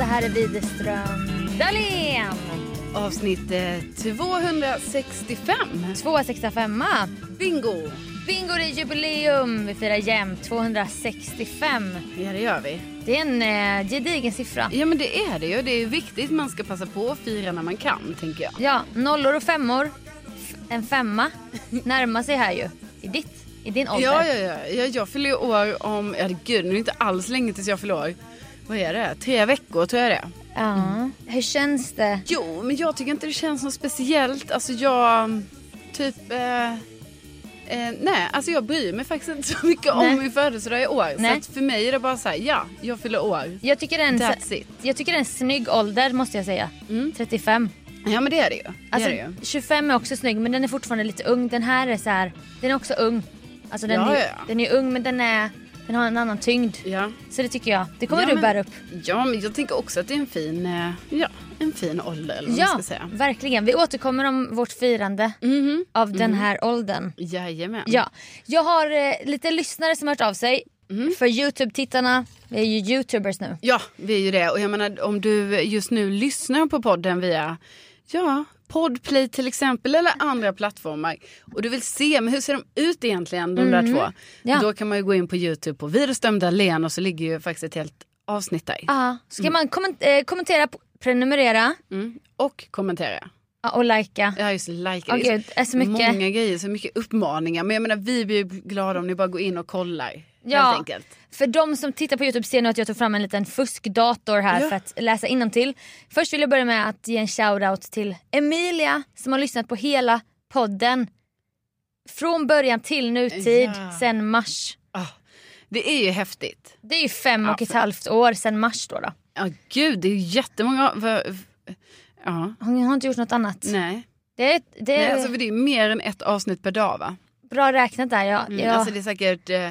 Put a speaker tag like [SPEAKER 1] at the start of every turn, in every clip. [SPEAKER 1] här är Widerström Dahlén.
[SPEAKER 2] Avsnitt eh, 265.
[SPEAKER 1] 265.
[SPEAKER 2] Bingo!
[SPEAKER 1] Bingo det är jubileum. Vi firar jämnt 265.
[SPEAKER 2] Ja, det gör vi.
[SPEAKER 1] Det är en eh, gedigen siffra.
[SPEAKER 2] Ja, men det är det ju. Det är viktigt. Man ska passa på att fira när man kan, tänker jag.
[SPEAKER 1] Ja, nollor och femmor. F- En femma närmar sig här ju. I ditt, i din ålder.
[SPEAKER 2] Ja, ja, ja. ja jag fyller ju år om... Ja, gud, nu är det inte alls länge tills jag fyller år. Vad är det? Tre veckor tror jag det är.
[SPEAKER 1] Ja. Hur känns det?
[SPEAKER 2] Jo, men jag tycker inte det känns något speciellt. Alltså jag... Typ... Eh, eh, nej, alltså jag bryr mig faktiskt inte så mycket
[SPEAKER 1] Nej.
[SPEAKER 2] om min födelsedag i år.
[SPEAKER 1] Nej.
[SPEAKER 2] Så att för mig är det bara så här, ja, jag fyller år.
[SPEAKER 1] Jag tycker, det är en,
[SPEAKER 2] That's it.
[SPEAKER 1] jag tycker det är en snygg ålder måste jag säga.
[SPEAKER 2] Mm.
[SPEAKER 1] 35.
[SPEAKER 2] Ja, men det är det ju. Det
[SPEAKER 1] Alltså,
[SPEAKER 2] är det ju.
[SPEAKER 1] 25 är också snygg men den är fortfarande lite ung. Den här är så här, den är också ung. Alltså den,
[SPEAKER 2] Ja,
[SPEAKER 1] är,
[SPEAKER 2] ja, ja.
[SPEAKER 1] den är ung men den, är, den har en annan tyngd.
[SPEAKER 2] Ja.
[SPEAKER 1] Så det tycker jag. Det kommer
[SPEAKER 2] Ja,
[SPEAKER 1] du
[SPEAKER 2] men-
[SPEAKER 1] bära upp.
[SPEAKER 2] Ja, men jag tänker också att det är en fin, eh, ja, en fin ålder eller vad
[SPEAKER 1] Ja,
[SPEAKER 2] man ska säga. Mhm.
[SPEAKER 1] verkligen. Vi återkommer om vårt firande av den här åldern.
[SPEAKER 2] Jajamän.
[SPEAKER 1] Ja. Jag har eh, lite lyssnare som har hört av sig.
[SPEAKER 2] Mhm.
[SPEAKER 1] För Youtube-tittarna, vi är ju Youtubers nu.
[SPEAKER 2] ja, vi är ju det. Och jag menar om du just nu lyssnar på podden via, ja, Podplay till exempel eller andra plattformar och du vill se, men hur ser de ut egentligen de där två?
[SPEAKER 1] Mm. Ja.
[SPEAKER 2] Då kan man ju gå in på Youtube på Widerström Dahlén och så ligger ju faktiskt ett helt avsnitt där.
[SPEAKER 1] Ja. Ska man komment- eh, kommentera, p- prenumerera
[SPEAKER 2] Mm. Och kommentera.
[SPEAKER 1] ja, och likea.
[SPEAKER 2] Ja just like.
[SPEAKER 1] Åh,
[SPEAKER 2] Det är
[SPEAKER 1] gud, det är så mycket.
[SPEAKER 2] Många grejer, så mycket uppmaningar. Men jag menar vi blir ju glada om ni bara går in och kollar.
[SPEAKER 1] Ja.
[SPEAKER 2] Helt enkelt.
[SPEAKER 1] För de som tittar på Youtube ser nu att jag tog fram en liten fuskdator här
[SPEAKER 2] Ja.
[SPEAKER 1] för att läsa innantill. Först vill jag börja med att ge en shoutout till Emilia som har lyssnat på hela podden. Från början till nutid,
[SPEAKER 2] Ja.
[SPEAKER 1] sen mars.
[SPEAKER 2] Ah, det är ju häftigt.
[SPEAKER 1] Det är ju fem
[SPEAKER 2] Ja,
[SPEAKER 1] och ett
[SPEAKER 2] för-
[SPEAKER 1] halvt år sen mars då. då.
[SPEAKER 2] Ja, gud, det är ju jättemånga... va- v- Ja,
[SPEAKER 1] Hon har inte gjort något annat.
[SPEAKER 2] nej.
[SPEAKER 1] Det, är- det är
[SPEAKER 2] nej alltså, för det är mer än ett avsnitt per dag, va?
[SPEAKER 1] bra räknat där. Ja,
[SPEAKER 2] Mm,
[SPEAKER 1] ja.
[SPEAKER 2] Alltså, det är säkert eh,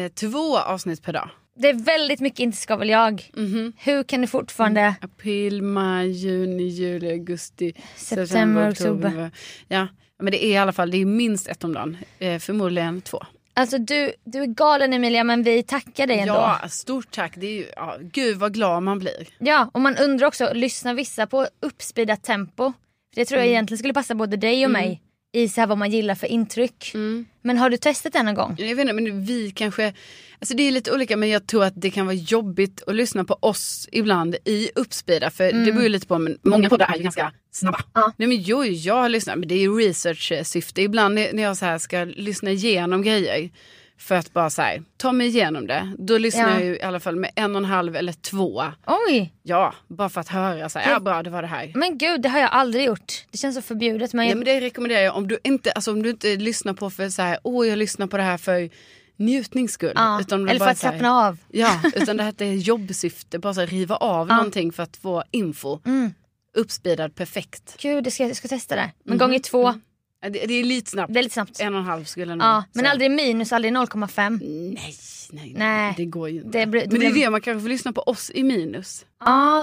[SPEAKER 2] eh, två avsnitt per dag.
[SPEAKER 1] Det är väldigt mycket Inte ska väl jag.
[SPEAKER 2] Mhm.
[SPEAKER 1] Hur kan du fortfarande...
[SPEAKER 2] Mm. April, maj, juni, juli, augusti,
[SPEAKER 1] September, oktober.
[SPEAKER 2] Ja, men det är i alla fall det är minst ett om dagen. Eh, förmodligen två.
[SPEAKER 1] Alltså du, du är galen Emilia men vi tackar dig ändå.
[SPEAKER 2] Ja, stort tack. Det är ju, ja, gud vad glad man blir.
[SPEAKER 1] Ja, och man undrar också, lyssnar vissa på uppspeedat tempo? För det tror jag
[SPEAKER 2] Mm.
[SPEAKER 1] egentligen skulle passa både dig och mig i så här vad man gillar för intryck.
[SPEAKER 2] Mm.
[SPEAKER 1] Men har du testat det någon gång?
[SPEAKER 2] Jag vet inte, men vi kanske... Alltså det är lite olika, men jag tror att det kan vara jobbigt att lyssna på oss ibland i uppspida. För
[SPEAKER 1] Mm.
[SPEAKER 2] det beror ju lite på, men många poddar är ju ganska snabba.
[SPEAKER 1] Ja.
[SPEAKER 2] Nej men jo, jag har lyssnat, men det är ju research-syfte. Ibland när när jag så här ska lyssna igenom grejer för att bara så här, ta mig igenom det. Då lyssnar
[SPEAKER 1] Ja.
[SPEAKER 2] jag ju i alla fall med en och en halv eller två.
[SPEAKER 1] Oj,
[SPEAKER 2] Ja, bara för att höra så här, ja bra det var det här.
[SPEAKER 1] men gud det har jag aldrig gjort. Det känns så förbjudet. Men
[SPEAKER 2] Ja,
[SPEAKER 1] jag,
[SPEAKER 2] men det rekommenderar jag om du inte, alltså om du inte lyssnar på för så här, åh jag lyssnar på det här för njutnings skull.
[SPEAKER 1] ja.
[SPEAKER 2] Utan
[SPEAKER 1] Eller för
[SPEAKER 2] bara
[SPEAKER 1] att
[SPEAKER 2] så här-
[SPEAKER 1] slappna av.
[SPEAKER 2] Ja, utan det här är jobbsyfte, bara så här, riva av någonting för att få info. Mm. Uppspeedad perfekt.
[SPEAKER 1] Gud, det ska, jag ska testa det. Men
[SPEAKER 2] Mhm.
[SPEAKER 1] gånger två,
[SPEAKER 2] Ja, Det, det är lite snabbt.
[SPEAKER 1] det är lite snabbt.
[SPEAKER 2] En och en halv skulle jag nog
[SPEAKER 1] Ja, men
[SPEAKER 2] säga.
[SPEAKER 1] aldrig minus, aldrig 0,5.
[SPEAKER 2] Nej, nej,
[SPEAKER 1] Nej.
[SPEAKER 2] nej, det går ju inte.
[SPEAKER 1] Det blir- det
[SPEAKER 2] men det är
[SPEAKER 1] blir- Ah,
[SPEAKER 2] det man kanske får lyssna på oss i minus.
[SPEAKER 1] Ja,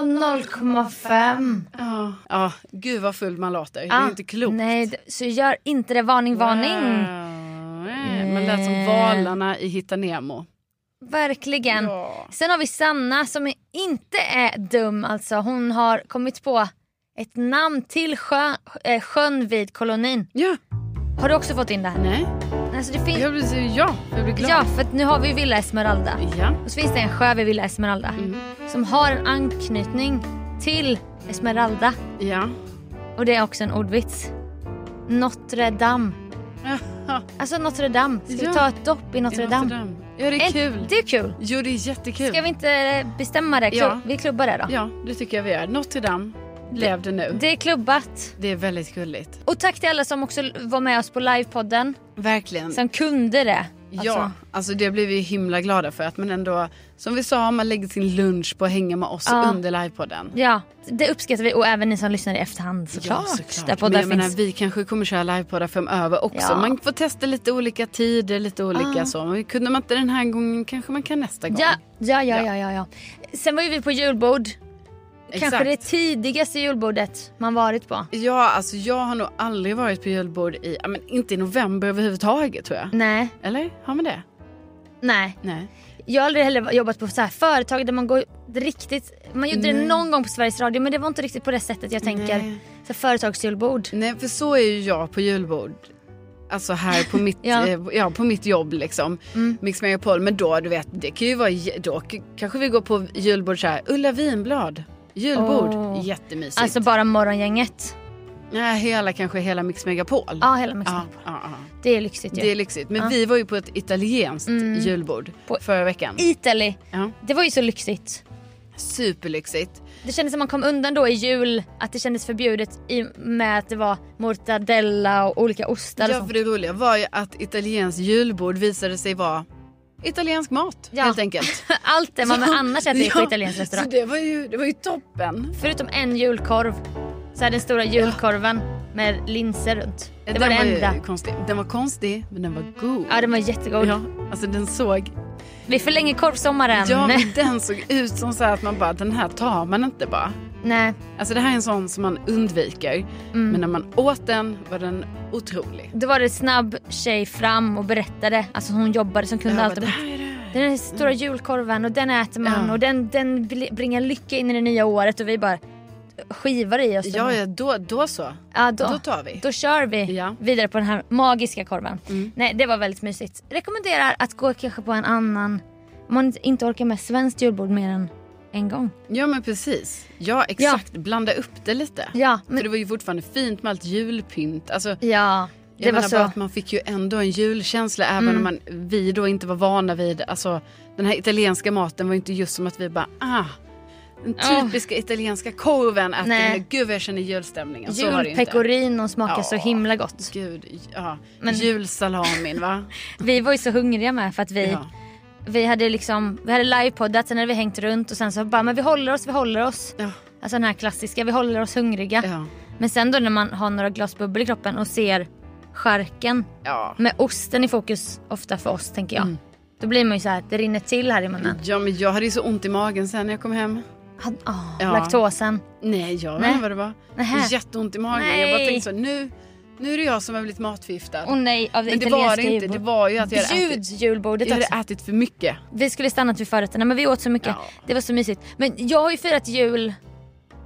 [SPEAKER 1] 0,5.
[SPEAKER 2] Ja, ja gud vad full man låter. Det
[SPEAKER 1] Ja,
[SPEAKER 2] är inte klokt.
[SPEAKER 1] Nej, det- så gör inte det. Varning, varning.
[SPEAKER 2] Wow. Nej, Man lät
[SPEAKER 1] Eh.
[SPEAKER 2] som valarna i Hitta Nemo.
[SPEAKER 1] Verkligen.
[SPEAKER 2] Ja.
[SPEAKER 1] Sen har vi Sanna som är- inte är dum alltså. Hon har kommit på ett namn till sjön, eh, sjön vid kolonin.
[SPEAKER 2] Ja,
[SPEAKER 1] Har du också fått in det? här?
[SPEAKER 2] nej.
[SPEAKER 1] Alltså det finns...
[SPEAKER 2] Jag blir, så- ja, jag blir glad. Mm.
[SPEAKER 1] Ja, för att nu har vi Villa Esmeralda.
[SPEAKER 2] ja.
[SPEAKER 1] Och så finns det en sjö vid Villa Esmeralda
[SPEAKER 2] Mm.
[SPEAKER 1] som har en anknytning till Esmeralda.
[SPEAKER 2] ja.
[SPEAKER 1] Och det är också en ordvits. Notre Dame. Alltså Notre Dame. Ska
[SPEAKER 2] Ja.
[SPEAKER 1] vi ta ett dopp i Notre Dame?
[SPEAKER 2] Ja, det är
[SPEAKER 1] Eh,
[SPEAKER 2] kul.
[SPEAKER 1] Det är kul.
[SPEAKER 2] Jo, det är jättekul.
[SPEAKER 1] Ska vi inte eh, bestämma det? Klu-
[SPEAKER 2] Ja.
[SPEAKER 1] Vi klubbar det då.
[SPEAKER 2] Ja, det tycker jag vi gör. Notre Dame, lev det nu.
[SPEAKER 1] Det är klubbat.
[SPEAKER 2] Det är väldigt gulligt.
[SPEAKER 1] Och tack till alla som också var med oss på livepodden.
[SPEAKER 2] Verkligen.
[SPEAKER 1] Som kunde det.
[SPEAKER 2] Ja, alltså det blev vi himla glada för. Att man ändå, som vi sa, man lägger sin lunch på att hänga med oss
[SPEAKER 1] Ja.
[SPEAKER 2] under livepodden.
[SPEAKER 1] ja. Det uppskattar vi och även ni som lyssnar i efterhand såklart. Där
[SPEAKER 2] Men
[SPEAKER 1] poddar
[SPEAKER 2] jag menar,
[SPEAKER 1] finns.
[SPEAKER 2] vi kanske kommer köra livepoddar framöver också.
[SPEAKER 1] Ja.
[SPEAKER 2] Man får testa lite olika tider, lite olika så. Men kunde man inte den här gången kanske man kan nästa gång.
[SPEAKER 1] Ja, ja, ja, ja, ja, ja. Sen var ju vi på julbord. Kanske
[SPEAKER 2] Exakt.
[SPEAKER 1] det tidigaste julbordet man varit på.
[SPEAKER 2] Ja, alltså jag har nog aldrig varit på julbord i, ja,
[SPEAKER 1] Mm.
[SPEAKER 2] men inte i november överhuvudtaget tror jag.
[SPEAKER 1] Nej,
[SPEAKER 2] Eller? Har man det?
[SPEAKER 1] nej.
[SPEAKER 2] Nej.
[SPEAKER 1] Jag har aldrig heller jobbat på så här företag där man går riktigt... Man gjorde det
[SPEAKER 2] Nej.
[SPEAKER 1] någon gång på Sveriges Radio men det var inte riktigt på det sättet jag tänker.
[SPEAKER 2] Nej.
[SPEAKER 1] Så företagsjulbord.
[SPEAKER 2] Nej, för så är ju jag på julbord. Alltså här på mitt,
[SPEAKER 1] Ja.
[SPEAKER 2] eh, ja, på mitt jobb liksom.
[SPEAKER 1] Mm.
[SPEAKER 2] Mix Megapol. Men då, du vet, det kan ju vara, j- då k- kanske vi går på julbord så här. Ulla Vinblad, julbord.
[SPEAKER 1] Åh.
[SPEAKER 2] Jättemysigt.
[SPEAKER 1] Alltså bara morgongänget.
[SPEAKER 2] ja, hela, kanske hela Mix Megapol.
[SPEAKER 1] Ja, hela mixen.
[SPEAKER 2] ja, ja, ja.
[SPEAKER 1] Det är lyxigt ju.
[SPEAKER 2] Det är lyxigt. Men
[SPEAKER 1] Ja.
[SPEAKER 2] vi var ju på ett italienskt
[SPEAKER 1] Mm.
[SPEAKER 2] julbord
[SPEAKER 1] På-
[SPEAKER 2] förra veckan.
[SPEAKER 1] Italy.
[SPEAKER 2] Ja.
[SPEAKER 1] Det var ju så lyxigt.
[SPEAKER 2] Superlyxigt.
[SPEAKER 1] Det kändes som man kom undan då i jul att det kändes förbjudet i, med att det var mortadella och olika ostar och
[SPEAKER 2] Ja,
[SPEAKER 1] sånt.
[SPEAKER 2] för det roliga var ju att italienskt julbord visade sig vara italiensk mat
[SPEAKER 1] Ja.
[SPEAKER 2] helt enkelt.
[SPEAKER 1] Allt det man annars äter på italiensk
[SPEAKER 2] Så
[SPEAKER 1] restaurang.
[SPEAKER 2] det var ju, det var ju toppen.
[SPEAKER 1] Förutom en julkorv. Så här den stora julkorven med linser runt. Det
[SPEAKER 2] den
[SPEAKER 1] var det
[SPEAKER 2] ju
[SPEAKER 1] enda.
[SPEAKER 2] Konstig. Den var konstig, men den var god.
[SPEAKER 1] Ja den var jättegod.
[SPEAKER 2] Ja, alltså den såg...
[SPEAKER 1] Vi förlänger korvsommaren.
[SPEAKER 2] Ja, men den såg ut som så här att man bara, den här tar man inte bara.
[SPEAKER 1] Nej.
[SPEAKER 2] Alltså det här är en sån som man undviker.
[SPEAKER 1] Mm.
[SPEAKER 2] Men när man åt den var den otrolig.
[SPEAKER 1] Då var det snabb tjej fram och berättade. Alltså hon jobbade som kunde
[SPEAKER 2] Jag
[SPEAKER 1] allt.
[SPEAKER 2] bara,
[SPEAKER 1] om-
[SPEAKER 2] det här är det.
[SPEAKER 1] Den här stora julkorven och den äter man
[SPEAKER 2] Ja.
[SPEAKER 1] och den, den bl- bringar lycka in i det nya året och vi bara skivar i oss den.
[SPEAKER 2] Ja, ja då, då så.
[SPEAKER 1] Ja, då,
[SPEAKER 2] Då
[SPEAKER 1] då,
[SPEAKER 2] tar vi.
[SPEAKER 1] kör vi
[SPEAKER 2] Ja.
[SPEAKER 1] vidare på den här magiska korven.
[SPEAKER 2] Mm.
[SPEAKER 1] Nej, det var väldigt mysigt. Rekommenderar att gå kanske på en annan, om man inte orkar med svenskt julbord mer än en gång.
[SPEAKER 2] Ja, men precis. Ja, exakt. Blanda upp det lite.
[SPEAKER 1] Ja,
[SPEAKER 2] För
[SPEAKER 1] men,
[SPEAKER 2] det var ju fortfarande fint med allt julpynt. Alltså,
[SPEAKER 1] ja
[SPEAKER 2] Jag
[SPEAKER 1] det var
[SPEAKER 2] menar bara
[SPEAKER 1] så.
[SPEAKER 2] att man fick ju ändå en julkänsla även
[SPEAKER 1] Mm.
[SPEAKER 2] om man, vi då inte var vana vid, alltså den här italienska maten var ju inte just som att vi bara ah, den
[SPEAKER 1] Åh.
[SPEAKER 2] typiska italienska korven äter
[SPEAKER 1] Nej.
[SPEAKER 2] Nej. gud vad jag känner julstämningen. Så var det ju inte.
[SPEAKER 1] Julpecorino smakar så
[SPEAKER 2] Ja.
[SPEAKER 1] himla gott.
[SPEAKER 2] Gud, ja.
[SPEAKER 1] Men-
[SPEAKER 2] Julsalamin va?
[SPEAKER 1] Vi var ju så hungriga med för att vi,
[SPEAKER 2] Mm. Ja.
[SPEAKER 1] vi hade liksom, vi hade livepoddat, sen hade vi hängt runt och sen så bara men vi håller oss, vi håller oss.
[SPEAKER 2] Ja,
[SPEAKER 1] Alltså den här klassiska, vi håller oss hungriga.
[SPEAKER 2] ja,
[SPEAKER 1] Men sen då när man har några glas bubbel i kroppen och ser skärken
[SPEAKER 2] ja.
[SPEAKER 1] med osten i fokus ofta för oss tänker jag.
[SPEAKER 2] Mm.
[SPEAKER 1] Då blir man ju så här, det rinner till här i munnen.
[SPEAKER 2] Ja men jag hade ju så ont i magen sen när jag kom hem.
[SPEAKER 1] Han- åh,
[SPEAKER 2] Ja.
[SPEAKER 1] Laktosen.
[SPEAKER 2] Nej jag vet
[SPEAKER 1] Nej.
[SPEAKER 2] inte vad det var.
[SPEAKER 1] Nähä.
[SPEAKER 2] Jätteont i magen. Jag bara
[SPEAKER 1] Nej.
[SPEAKER 2] tänkte så nu, nu är det jag som har blivit matförgiftad.
[SPEAKER 1] Åh nej, av det
[SPEAKER 2] men det var det
[SPEAKER 1] italienska
[SPEAKER 2] inte. Det var ju att jag hade, ätit,
[SPEAKER 1] Bjud julbordet
[SPEAKER 2] jag
[SPEAKER 1] också.
[SPEAKER 2] hade ätit för mycket.
[SPEAKER 1] Vi skulle stannat vid förrätterna men vi åt så mycket.
[SPEAKER 2] Ja.
[SPEAKER 1] Det var så mysigt. Men jag har ju firat jul,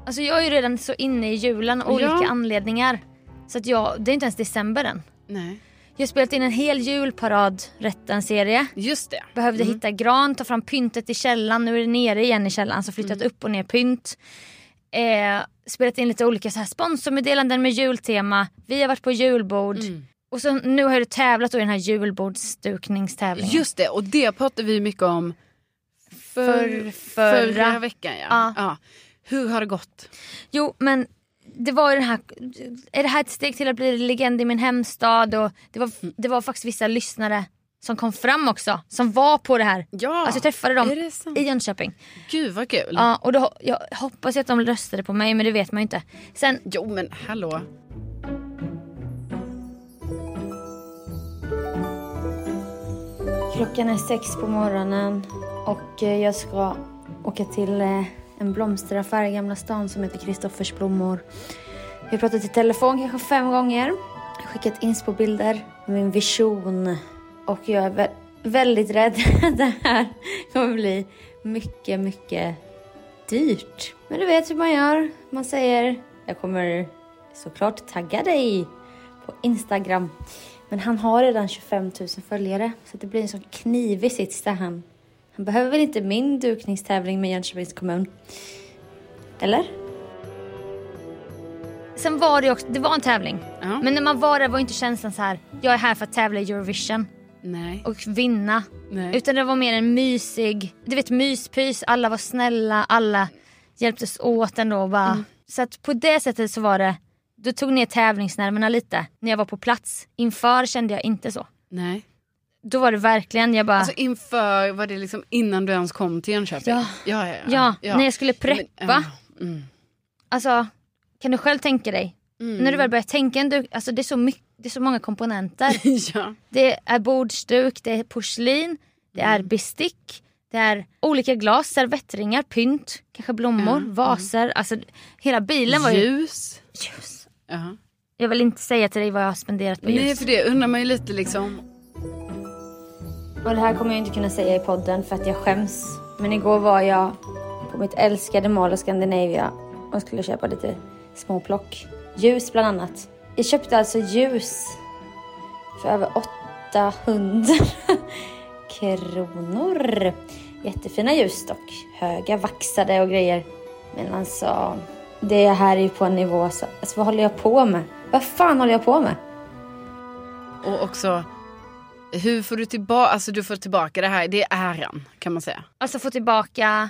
[SPEAKER 1] alltså jag är ju redan så inne i julen av
[SPEAKER 2] Ja.
[SPEAKER 1] olika anledningar. Så att jag, det är inte ens december än.
[SPEAKER 2] Nej.
[SPEAKER 1] Jag har spelat in en hel julparadrätten-serie.
[SPEAKER 2] Just det.
[SPEAKER 1] Behövde hitta gran, ta fram pyntet i källan. Nu är det nere igen i källan så
[SPEAKER 2] Mm.
[SPEAKER 1] flyttat upp och ner pynt. Eh, spelat in lite olika så här sponsormeddelanden med jultema. Vi har varit på julbord.
[SPEAKER 2] Mm.
[SPEAKER 1] Och så nu har jag tävlat då i den här julbordsdukningstävlingen.
[SPEAKER 2] Just det, och det pratade vi mycket om
[SPEAKER 1] För-
[SPEAKER 2] förra,
[SPEAKER 1] förra
[SPEAKER 2] veckan. Ja.
[SPEAKER 1] Ja.
[SPEAKER 2] Ja. Hur har det gått?
[SPEAKER 1] Jo men det var ju den här, är det här ett steg till att bli legend i min hemstad? Och det, var,
[SPEAKER 2] Mm.
[SPEAKER 1] det var faktiskt vissa lyssnare som kom fram också, som var på det här.
[SPEAKER 2] Ja,
[SPEAKER 1] Alltså jag träffade
[SPEAKER 2] är
[SPEAKER 1] dem
[SPEAKER 2] det sant? Mm.
[SPEAKER 1] i Jönköping.
[SPEAKER 2] Gud vad kul.
[SPEAKER 1] Ja, och då, jag hoppas ju att de röstade på mig men det vet man ju inte. Sen,
[SPEAKER 2] Jo men hallå.
[SPEAKER 1] Klockan är sex på morgonen och eh, jag ska åka till eh, en blomsteraffär i Gamla stan som heter Kristoffers blommor. Vi har pratat i telefon kanske fem gånger. Jag har skickat inspo-bilder med min vision och jag är vä- väldigt rädd att det här kommer bli mycket, mycket dyrt. Men du vet hur man gör. Man säger jag kommer såklart tagga dig på Instagram. Men han har redan 25 000 följare så det blir en sån knivig sits där han. Han behöver väl inte min dukningstävling med Jönköpings kommun? Eller? Sen var det ju också, det var en tävling.
[SPEAKER 2] Ja.
[SPEAKER 1] Men när man var där var inte känslan så här, jag är här för att tävla i Eurovision
[SPEAKER 2] Nej.
[SPEAKER 1] och vinna.
[SPEAKER 2] Nej.
[SPEAKER 1] Utan det var mer en mysig, du vet myspys, alla var snälla, alla hjälptes åt ändå och bara.
[SPEAKER 2] Mm.
[SPEAKER 1] Så att på det sättet så var det, du tog ner tävlingsnerverna lite när jag var på plats. Inför kände jag inte så.
[SPEAKER 2] Nej.
[SPEAKER 1] Då var det verkligen, jag bara,
[SPEAKER 2] Alltså inför, var det liksom innan du ens kom till Jönköping?
[SPEAKER 1] Ja.
[SPEAKER 2] ja, ja,
[SPEAKER 1] ja, när jag skulle
[SPEAKER 2] Men,
[SPEAKER 1] preppa.
[SPEAKER 2] ja, mm.
[SPEAKER 1] Alltså, kan du själv tänka dig? När
[SPEAKER 2] Mm.
[SPEAKER 1] du väl börjar tänka en duk, alltså det är så, mycket, det är så många komponenter.
[SPEAKER 2] ja.
[SPEAKER 1] Det är bordsduk, det är porslin, det
[SPEAKER 2] Mm.
[SPEAKER 1] är bestick, det är olika glas, servettringar, pynt, kanske blommor,
[SPEAKER 2] Mm,
[SPEAKER 1] vaser. Alltså hela bilen var ju...
[SPEAKER 2] Ljus.
[SPEAKER 1] Ljus.
[SPEAKER 2] Ja.
[SPEAKER 1] Jag vill inte säga till dig vad jag har spenderat på ljus.
[SPEAKER 2] Nej för det undrar man ju lite liksom.
[SPEAKER 3] Och det här kommer jag inte kunna säga i podden för att jag skäms. Men igår var jag på mitt älskade Mall of Scandinavia och skulle köpa lite småplock. Ljus bland annat. Jag köpte alltså ljus för över 800 kronor. Jättefina ljus dock. Höga, vaxade och grejer. Men alltså, det här är ju på en nivå så... Alltså vad håller jag på med? Vad fan håller jag på med?
[SPEAKER 2] Och också, hur får du tillbaka, alltså du får tillbaka det här, det är äran kan man säga.
[SPEAKER 3] Alltså få tillbaka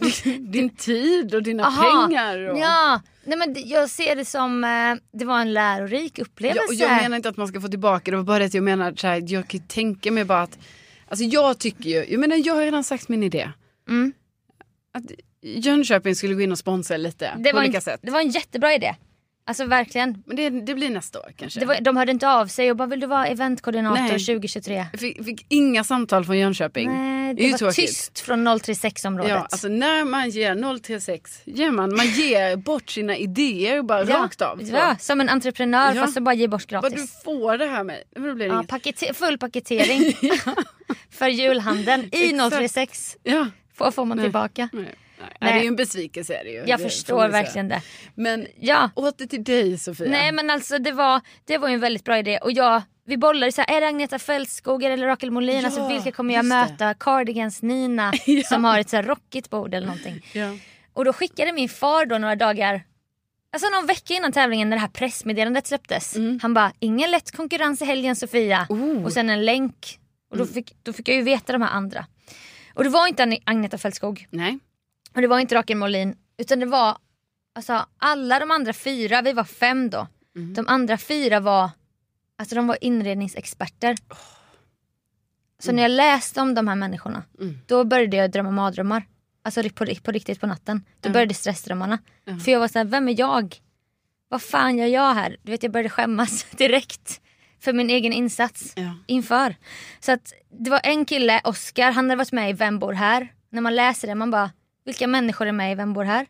[SPEAKER 2] Din, din tid och dina
[SPEAKER 1] Aha,
[SPEAKER 2] pengar. Och...
[SPEAKER 1] Ja, nej men det- jag ser det som, eh, det var en lärorik upplevelse.
[SPEAKER 2] Ja, och jag menar inte att man ska få tillbaka det, det var bara det att jag menar så här, jag kan ju tänka mig bara att, alltså jag tycker ju, jag menar jag har redan sagt min idé.
[SPEAKER 1] Mm.
[SPEAKER 2] Att Jönköping skulle gå in och sponsra lite
[SPEAKER 1] det,
[SPEAKER 2] på
[SPEAKER 1] var
[SPEAKER 2] olika
[SPEAKER 1] en,
[SPEAKER 2] sätt.
[SPEAKER 1] det var en jättebra idé. Alltså verkligen.
[SPEAKER 2] Men det, det blir nästa år kanske.
[SPEAKER 1] Det var, de hörde inte av sig och bara vill du vara eventkoordinator
[SPEAKER 2] Nej.
[SPEAKER 1] 2023?
[SPEAKER 2] Jag fick, fick inga samtal från Jönköping.
[SPEAKER 1] Nej,
[SPEAKER 2] är
[SPEAKER 1] det
[SPEAKER 2] ju
[SPEAKER 1] var
[SPEAKER 2] tråkigt.
[SPEAKER 1] tyst från 036-området.
[SPEAKER 2] Ja, alltså när man ger 036, ger man, man ger bort sina idéer bara
[SPEAKER 1] Ja,
[SPEAKER 2] rakt av. Så.
[SPEAKER 1] Ja, som en entreprenör
[SPEAKER 2] Ja.
[SPEAKER 1] fast så bara ge bort
[SPEAKER 2] Vad du
[SPEAKER 1] gratis.
[SPEAKER 2] får det här med. Men då blir det
[SPEAKER 1] Ja,
[SPEAKER 2] inget.
[SPEAKER 1] pakete- full paketering för julhandeln i
[SPEAKER 2] Exakt.
[SPEAKER 1] 036.
[SPEAKER 2] Ja.
[SPEAKER 1] Vad får man
[SPEAKER 2] Nej.
[SPEAKER 1] tillbaka?
[SPEAKER 2] Nej. Nej.
[SPEAKER 1] Nej.
[SPEAKER 2] Det är ju en besvikelse. Är det ju.
[SPEAKER 1] Jag
[SPEAKER 2] det, får
[SPEAKER 1] förstår
[SPEAKER 2] man ju säga.
[SPEAKER 1] verkligen det.
[SPEAKER 2] Men
[SPEAKER 1] Ja,
[SPEAKER 2] åter till dig Sofia.
[SPEAKER 1] Nej men alltså det var, det var ju en väldigt bra idé och jag, vi bollade så här, är det Agneta Fältskoger eller Rakel Molin?
[SPEAKER 2] Ja,
[SPEAKER 1] alltså vilka kommer jag
[SPEAKER 2] just det.
[SPEAKER 1] möta? Cardigans Nina
[SPEAKER 2] Ja.
[SPEAKER 1] som har ett så här rockigt bord eller någonting.
[SPEAKER 2] Ja.
[SPEAKER 1] Och då skickade min far då några dagar, alltså någon vecka innan tävlingen när det här pressmeddelandet släpptes. Han bara, ingen lätt konkurrens i helgen Sofia.
[SPEAKER 2] Mm. Oh. Mm.
[SPEAKER 1] Och sen en länk. Och då fick, då fick jag ju veta de här andra. Och det var inte Agn- Agneta Fältskog
[SPEAKER 2] Nej.
[SPEAKER 1] och det var inte Rakel Molin utan det var alltså, alla de andra fyra, vi var fem då.
[SPEAKER 2] Mm.
[SPEAKER 1] De andra fyra var alltså de var inredningsexperter. Så när jag läste om de här människorna
[SPEAKER 2] Mm.
[SPEAKER 1] då började jag drömma mardrömmar. Alltså ri- på, ri- på riktigt på natten. Då
[SPEAKER 2] Ja.
[SPEAKER 1] började stressdrömmarna.
[SPEAKER 2] Ja.
[SPEAKER 1] För jag var såhär, vem är jag? Vad fan gör jag här? Du vet jag började skämmas direkt. För min egen insats
[SPEAKER 2] Ja.
[SPEAKER 1] inför. Så att det var en kille, Oscar, han hade varit med i Vem bor här? När man läser det man bara, vilka människor är med i Vem bor här?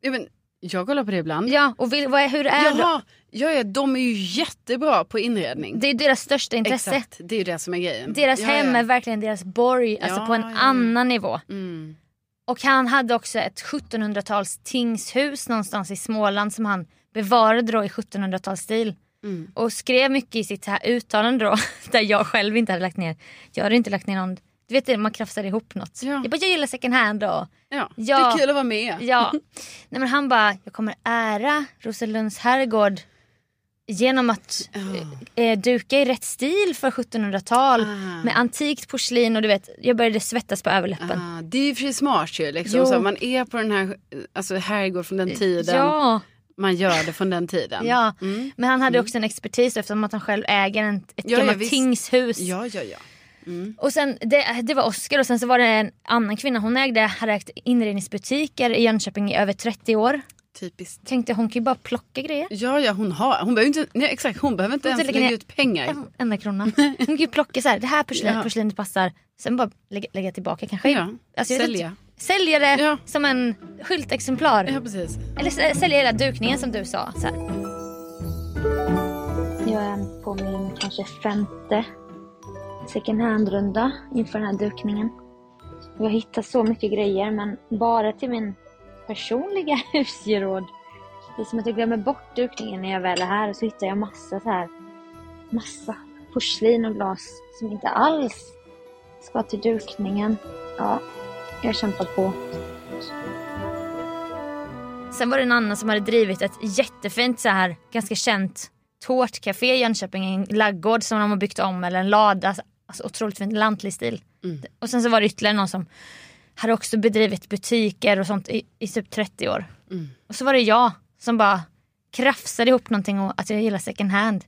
[SPEAKER 2] Ja, men, jag kollar på det ibland.
[SPEAKER 1] Ja, och vil, vad är, hur är det?
[SPEAKER 2] Jaha, ja, ja, de är ju jättebra på inredning.
[SPEAKER 1] Det är deras största intresse.
[SPEAKER 2] Exakt, det är ju det som är grejen.
[SPEAKER 1] Deras
[SPEAKER 2] ja,
[SPEAKER 1] hem
[SPEAKER 2] ja.
[SPEAKER 1] är verkligen deras borg, alltså
[SPEAKER 2] Ja,
[SPEAKER 1] på en
[SPEAKER 2] ja, ja.
[SPEAKER 1] annan nivå.
[SPEAKER 2] Mm.
[SPEAKER 1] Och han hade också ett 1700-tals tingshus någonstans i Småland som han bevarade då i 1700-talsstil.
[SPEAKER 2] Mm.
[SPEAKER 1] Och skrev mycket i sitt här uttalande då, där jag själv inte hade lagt ner. Jag hade inte lagt ner någon, du vet det, man krafsar ihop något.
[SPEAKER 2] Ja.
[SPEAKER 1] Jag bara, jag gillar second hand och
[SPEAKER 2] Ja.
[SPEAKER 1] Ja.
[SPEAKER 2] det är kul att vara med.
[SPEAKER 1] Ja. Nej, men han bara, jag kommer ära Roselunds herrgård genom att eh, duka i rätt stil för 1700-tal
[SPEAKER 2] Ah.
[SPEAKER 1] med antikt porslin och du vet, jag började svettas på överläppen.
[SPEAKER 2] Ah, det är ju för sig smart ju. Liksom.
[SPEAKER 1] Jo.
[SPEAKER 2] Så man är på den här, alltså herrgård från den tiden.
[SPEAKER 1] Ja,
[SPEAKER 2] Man gör det från den tiden.
[SPEAKER 1] ja.
[SPEAKER 2] Mm.
[SPEAKER 1] men han hade också en expertis eftersom att han själv äger en, ett
[SPEAKER 2] Ja, ja,
[SPEAKER 1] gammalt
[SPEAKER 2] visst.
[SPEAKER 1] tingshus.
[SPEAKER 2] Ja, ja, ja. Mm.
[SPEAKER 1] Och sen, det, det var Oscar och sen så var det en annan kvinna, hon ägde, hade ägt inredningsbutiker i Jönköping i över 30 år.
[SPEAKER 2] Typiskt.
[SPEAKER 1] Tänkte hon kan ju bara plocka grejer.
[SPEAKER 2] Ja, ja, hon har. Hon behöver inte, nej, exakt, hon behöver inte
[SPEAKER 1] Hon
[SPEAKER 2] ens
[SPEAKER 1] lägger
[SPEAKER 2] lägga
[SPEAKER 1] ner-
[SPEAKER 2] ut pengar.
[SPEAKER 1] en enda krona. Hon kan ju plocka så här, det här porslin,
[SPEAKER 2] Ja.
[SPEAKER 1] porslinet passar. Sen bara lägga, lägga tillbaka kanske.
[SPEAKER 2] Ja.
[SPEAKER 1] Alltså, jag vet
[SPEAKER 2] Sälja.
[SPEAKER 1] Sälja det
[SPEAKER 2] Ja.
[SPEAKER 1] som en skyltexemplar.
[SPEAKER 2] Ja, precis.
[SPEAKER 1] Eller sä- sälja hela dukningen som du sa. Så här.
[SPEAKER 3] Jag är på min kanske femte second hand-runda inför den här dukningen. Jag hittar så mycket grejer, men bara till min personliga husgeråd. Det är som att jag glömmer bort dukningen när jag väl är här och så hittar jag massa så här, massa porslin och glas som inte alls ska till dukningen. Ja, jag kämpar på.
[SPEAKER 1] Sen var det en annan som hade drivit ett jättefint så här, ganska känt tårtcafé i Jönköping. En laggård som de har byggt om eller en lada. Alltså otroligt fint, lantlig stil.
[SPEAKER 2] Mm.
[SPEAKER 1] Och sen så var det ytterligare någon som hade också bedrivit butiker och sånt i, i typ 30 år.
[SPEAKER 2] Mm.
[SPEAKER 1] Och så var det jag som bara krafsade ihop någonting och att jag gillar second hand.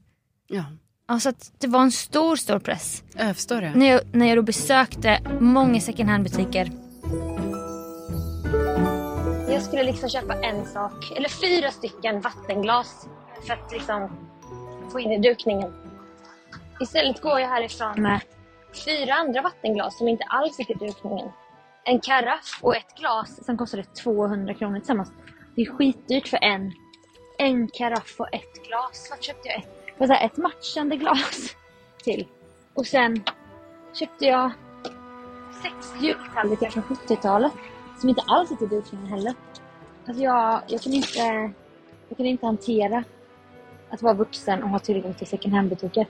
[SPEAKER 2] Ja,
[SPEAKER 1] Alltså att det var en stor, stor press.
[SPEAKER 2] jag förstår det.
[SPEAKER 1] När jag, när jag då besökte många second hand-butiker.
[SPEAKER 3] Jag skulle liksom köpa en sak, eller fyra stycken vattenglas för att liksom få in i dukningen. Istället går jag härifrån med fyra andra vattenglas som inte alls gick i dukningen. En karaff och ett glas. Sen kostade det 200 kronor tillsammans. Det är skitdyrt för en. En karaff och ett glas. Vart köpte jag ett? Det var så här ett matchande glas till. Och sen köpte jag sex jultallrikar från 70-talet. Som inte alls är till dukningen heller. Alltså jag, jag, kan inte, jag kan inte hantera att vara vuxen och ha tillgång till second hand-butiker.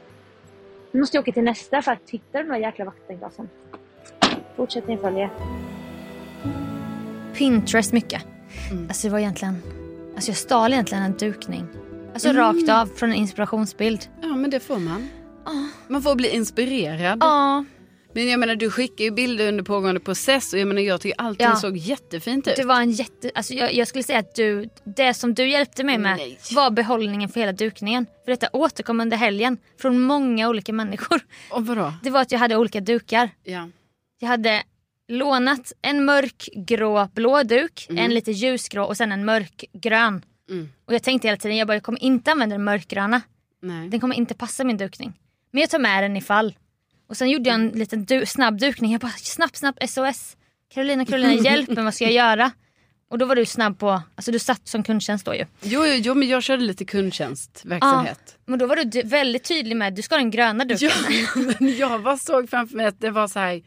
[SPEAKER 3] Nu måste jag åka till nästa för att hitta de där jäkla vattenglasen. Fortsättning följer.
[SPEAKER 1] Pinterest mycket.
[SPEAKER 3] Mm.
[SPEAKER 1] Alltså det var egentligen, alltså jag stal egentligen en dukning. Alltså
[SPEAKER 3] Mm.
[SPEAKER 1] rakt av från en inspirationsbild.
[SPEAKER 2] Ja men det får man.
[SPEAKER 1] Ah.
[SPEAKER 2] Man får bli inspirerad.
[SPEAKER 1] Ja,
[SPEAKER 2] Men jag menar du skickar ju bilder under pågående process och jag menar jag tycker allting
[SPEAKER 1] Ja.
[SPEAKER 2] såg jättefint ut.
[SPEAKER 1] det var en jätte, alltså jag, jag skulle säga att du, det som du hjälpte mig med
[SPEAKER 2] Nej.
[SPEAKER 1] var behållningen för hela dukningen. För detta återkom under helgen från många olika människor.
[SPEAKER 2] Och vadå?
[SPEAKER 1] Det var att jag hade olika dukar.
[SPEAKER 2] Ja.
[SPEAKER 1] Jag hade lånat en mörkgrå blå duk, en lite ljusgrå och sen en mörkgrön.
[SPEAKER 2] Mm.
[SPEAKER 1] Och jag tänkte hela tiden, jag bara jag kommer inte använda den mörkgröna.
[SPEAKER 2] Nej.
[SPEAKER 1] Den kommer inte passa min dukning. Men jag tar med den ifall. Och sen gjorde jag en liten du- snabb dukning. Jag bara snabbt, snabbt SOS. Carolina, Carolina hjälp mig, vad ska jag göra? Och då var du snabb på, alltså du satt som kundtjänst då ju.
[SPEAKER 2] Jo, jo, jo men jag körde lite kundtjänstverksamhet.
[SPEAKER 1] Men då var du d- väldigt tydlig med, du ska ha den gröna duken.
[SPEAKER 2] Ja, men jag bara såg framför mig att det var så här.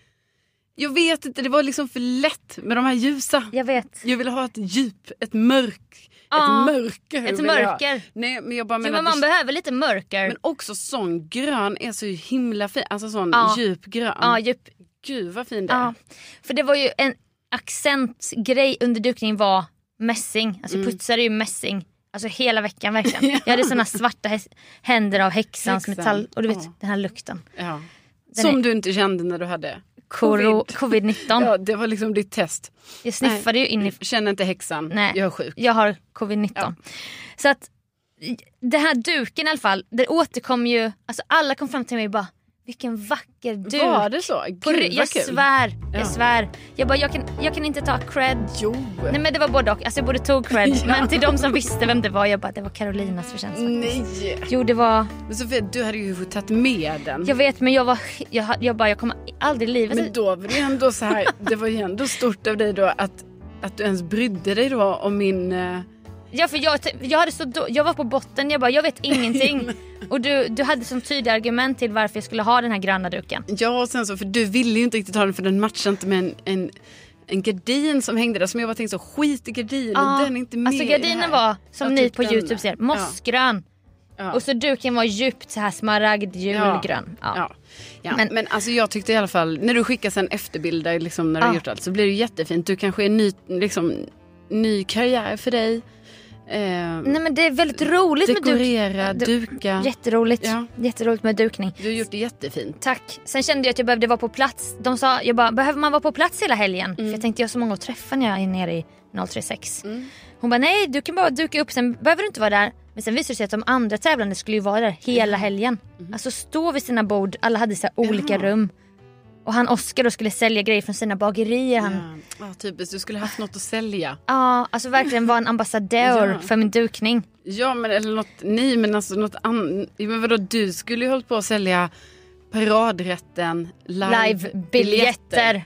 [SPEAKER 2] Jag vet inte, det var liksom för lätt med de här ljusa.
[SPEAKER 1] Jag vet.
[SPEAKER 2] Jag ville ha ett djup, ett mörk,
[SPEAKER 1] Ja,
[SPEAKER 2] ett mörker.
[SPEAKER 1] ett
[SPEAKER 2] vill jag ha.
[SPEAKER 1] mörker.
[SPEAKER 2] Nej men jag bara
[SPEAKER 1] Jo,
[SPEAKER 2] menar,
[SPEAKER 1] men
[SPEAKER 2] att
[SPEAKER 1] man
[SPEAKER 2] det-
[SPEAKER 1] behöver lite mörker.
[SPEAKER 2] men också sån grön är så himla fin. Alltså sån
[SPEAKER 1] Ja.
[SPEAKER 2] djup grön.
[SPEAKER 1] ja, djup,
[SPEAKER 2] Gud vad fin det är.
[SPEAKER 1] Ja, för det var ju en accentgrej under dukningen var mässing. Alltså
[SPEAKER 2] Mm.
[SPEAKER 1] jag putsade ju mässing alltså hela veckan verkligen. Jag hade såna svarta häs- händer av häxans
[SPEAKER 2] Häxan,
[SPEAKER 1] metall och du vet
[SPEAKER 2] ja.
[SPEAKER 1] den här lukten.
[SPEAKER 2] Ja.
[SPEAKER 1] Den
[SPEAKER 2] Som
[SPEAKER 1] är-
[SPEAKER 2] du inte kände när du hade.
[SPEAKER 1] Koro- Covid-19.
[SPEAKER 2] Ja, det var liksom ditt test.
[SPEAKER 1] Jag sniffade ju in i...
[SPEAKER 2] Känner inte häxan,
[SPEAKER 1] Nej.
[SPEAKER 2] jag är sjuk.
[SPEAKER 1] Jag har covid-19. Så att i- den här duken i alla fall, det återkom ju, alltså alla kom fram till mig och bara vilken vacker duk.
[SPEAKER 2] Var det så? Gud
[SPEAKER 1] På, ry-
[SPEAKER 2] vad
[SPEAKER 1] jag
[SPEAKER 2] kul.
[SPEAKER 1] svär,
[SPEAKER 2] Ja.
[SPEAKER 1] jag svär. Jag bara jag kan, jag kan inte ta cred
[SPEAKER 2] Jo.
[SPEAKER 1] Nej men det var både och. Alltså jag borde tog cred. Men till de som visste vem det var, jag bara det var Carolinas förtjänst
[SPEAKER 2] Mm.
[SPEAKER 1] faktiskt.
[SPEAKER 2] Nej.
[SPEAKER 1] Jo det var,
[SPEAKER 2] Men Sofia, du hade ju tagit med den.
[SPEAKER 1] jag vet men jag var, jag, jag bara jag kommer aldrig i Alltså, livet.
[SPEAKER 2] Men då var det ju ändå så här, det var ju ändå stort av dig då att, att du ens brydde dig då om min... eh,
[SPEAKER 1] Ja för jag, jag hade så då, jag var på botten, jag bara jag vet ingenting. Och du, du hade som tydliga argument till varför jag skulle ha den här gröna duken.
[SPEAKER 2] Ja, och sen så, för du ville ju inte riktigt ha den för den matchade inte med en, en, en gardin som hängde där. Som jag bara tänkte så, skit i gardinen,
[SPEAKER 1] Ja.
[SPEAKER 2] den är inte med
[SPEAKER 1] alltså
[SPEAKER 2] i det
[SPEAKER 1] gardinen
[SPEAKER 2] här.
[SPEAKER 1] var, som
[SPEAKER 2] Jag
[SPEAKER 1] ni
[SPEAKER 2] tyckte
[SPEAKER 1] på
[SPEAKER 2] den-
[SPEAKER 1] youtube ser, mossgrön.
[SPEAKER 2] Ja.
[SPEAKER 1] Och så duken var djupt så här smaragd julgrön. Ja.
[SPEAKER 2] Ja. Ja. Men,
[SPEAKER 1] Men-
[SPEAKER 2] alltså jag tyckte i alla fall, när du skickar sen efterbilder liksom, när du
[SPEAKER 1] Ja.
[SPEAKER 2] har gjort allt så blir det ju jättefint. Du kanske är ny, liksom, ny karriär för dig. Eh,
[SPEAKER 1] Nej men det är väldigt roligt
[SPEAKER 2] dekorera,
[SPEAKER 1] med duk.
[SPEAKER 2] duka.
[SPEAKER 1] Jätteroligt.
[SPEAKER 2] Ja.
[SPEAKER 1] Jätteroligt med dukning.
[SPEAKER 2] Du har gjort det jättefint.
[SPEAKER 1] Tack. Sen kände jag att jag behövde vara på plats. De sa, jag bara, behöver man vara på plats hela helgen? För
[SPEAKER 2] Mm.
[SPEAKER 1] jag tänkte jag har så många att träffa när jag är nere i 036. Hon bara, nej du kan bara duka upp, sen behöver du inte vara där. Men sen visade det sig att de andra tävlande skulle ju vara där hela helgen.
[SPEAKER 2] Mm.
[SPEAKER 1] Alltså stå vid sina bord, alla hade så här olika rum. Och han Oskar då skulle sälja grejer från sina bagerier. Han, ja.
[SPEAKER 2] Ja, ja, typiskt, du skulle haft något att sälja.
[SPEAKER 1] alltså verkligen vara en ambassadör
[SPEAKER 2] Ja.
[SPEAKER 1] för min dukning.
[SPEAKER 2] Ja men eller något, nej men alltså något annat. Men vadå du skulle ju hållit på att sälja paradrätten live-biljetter.
[SPEAKER 1] Live-biljetter.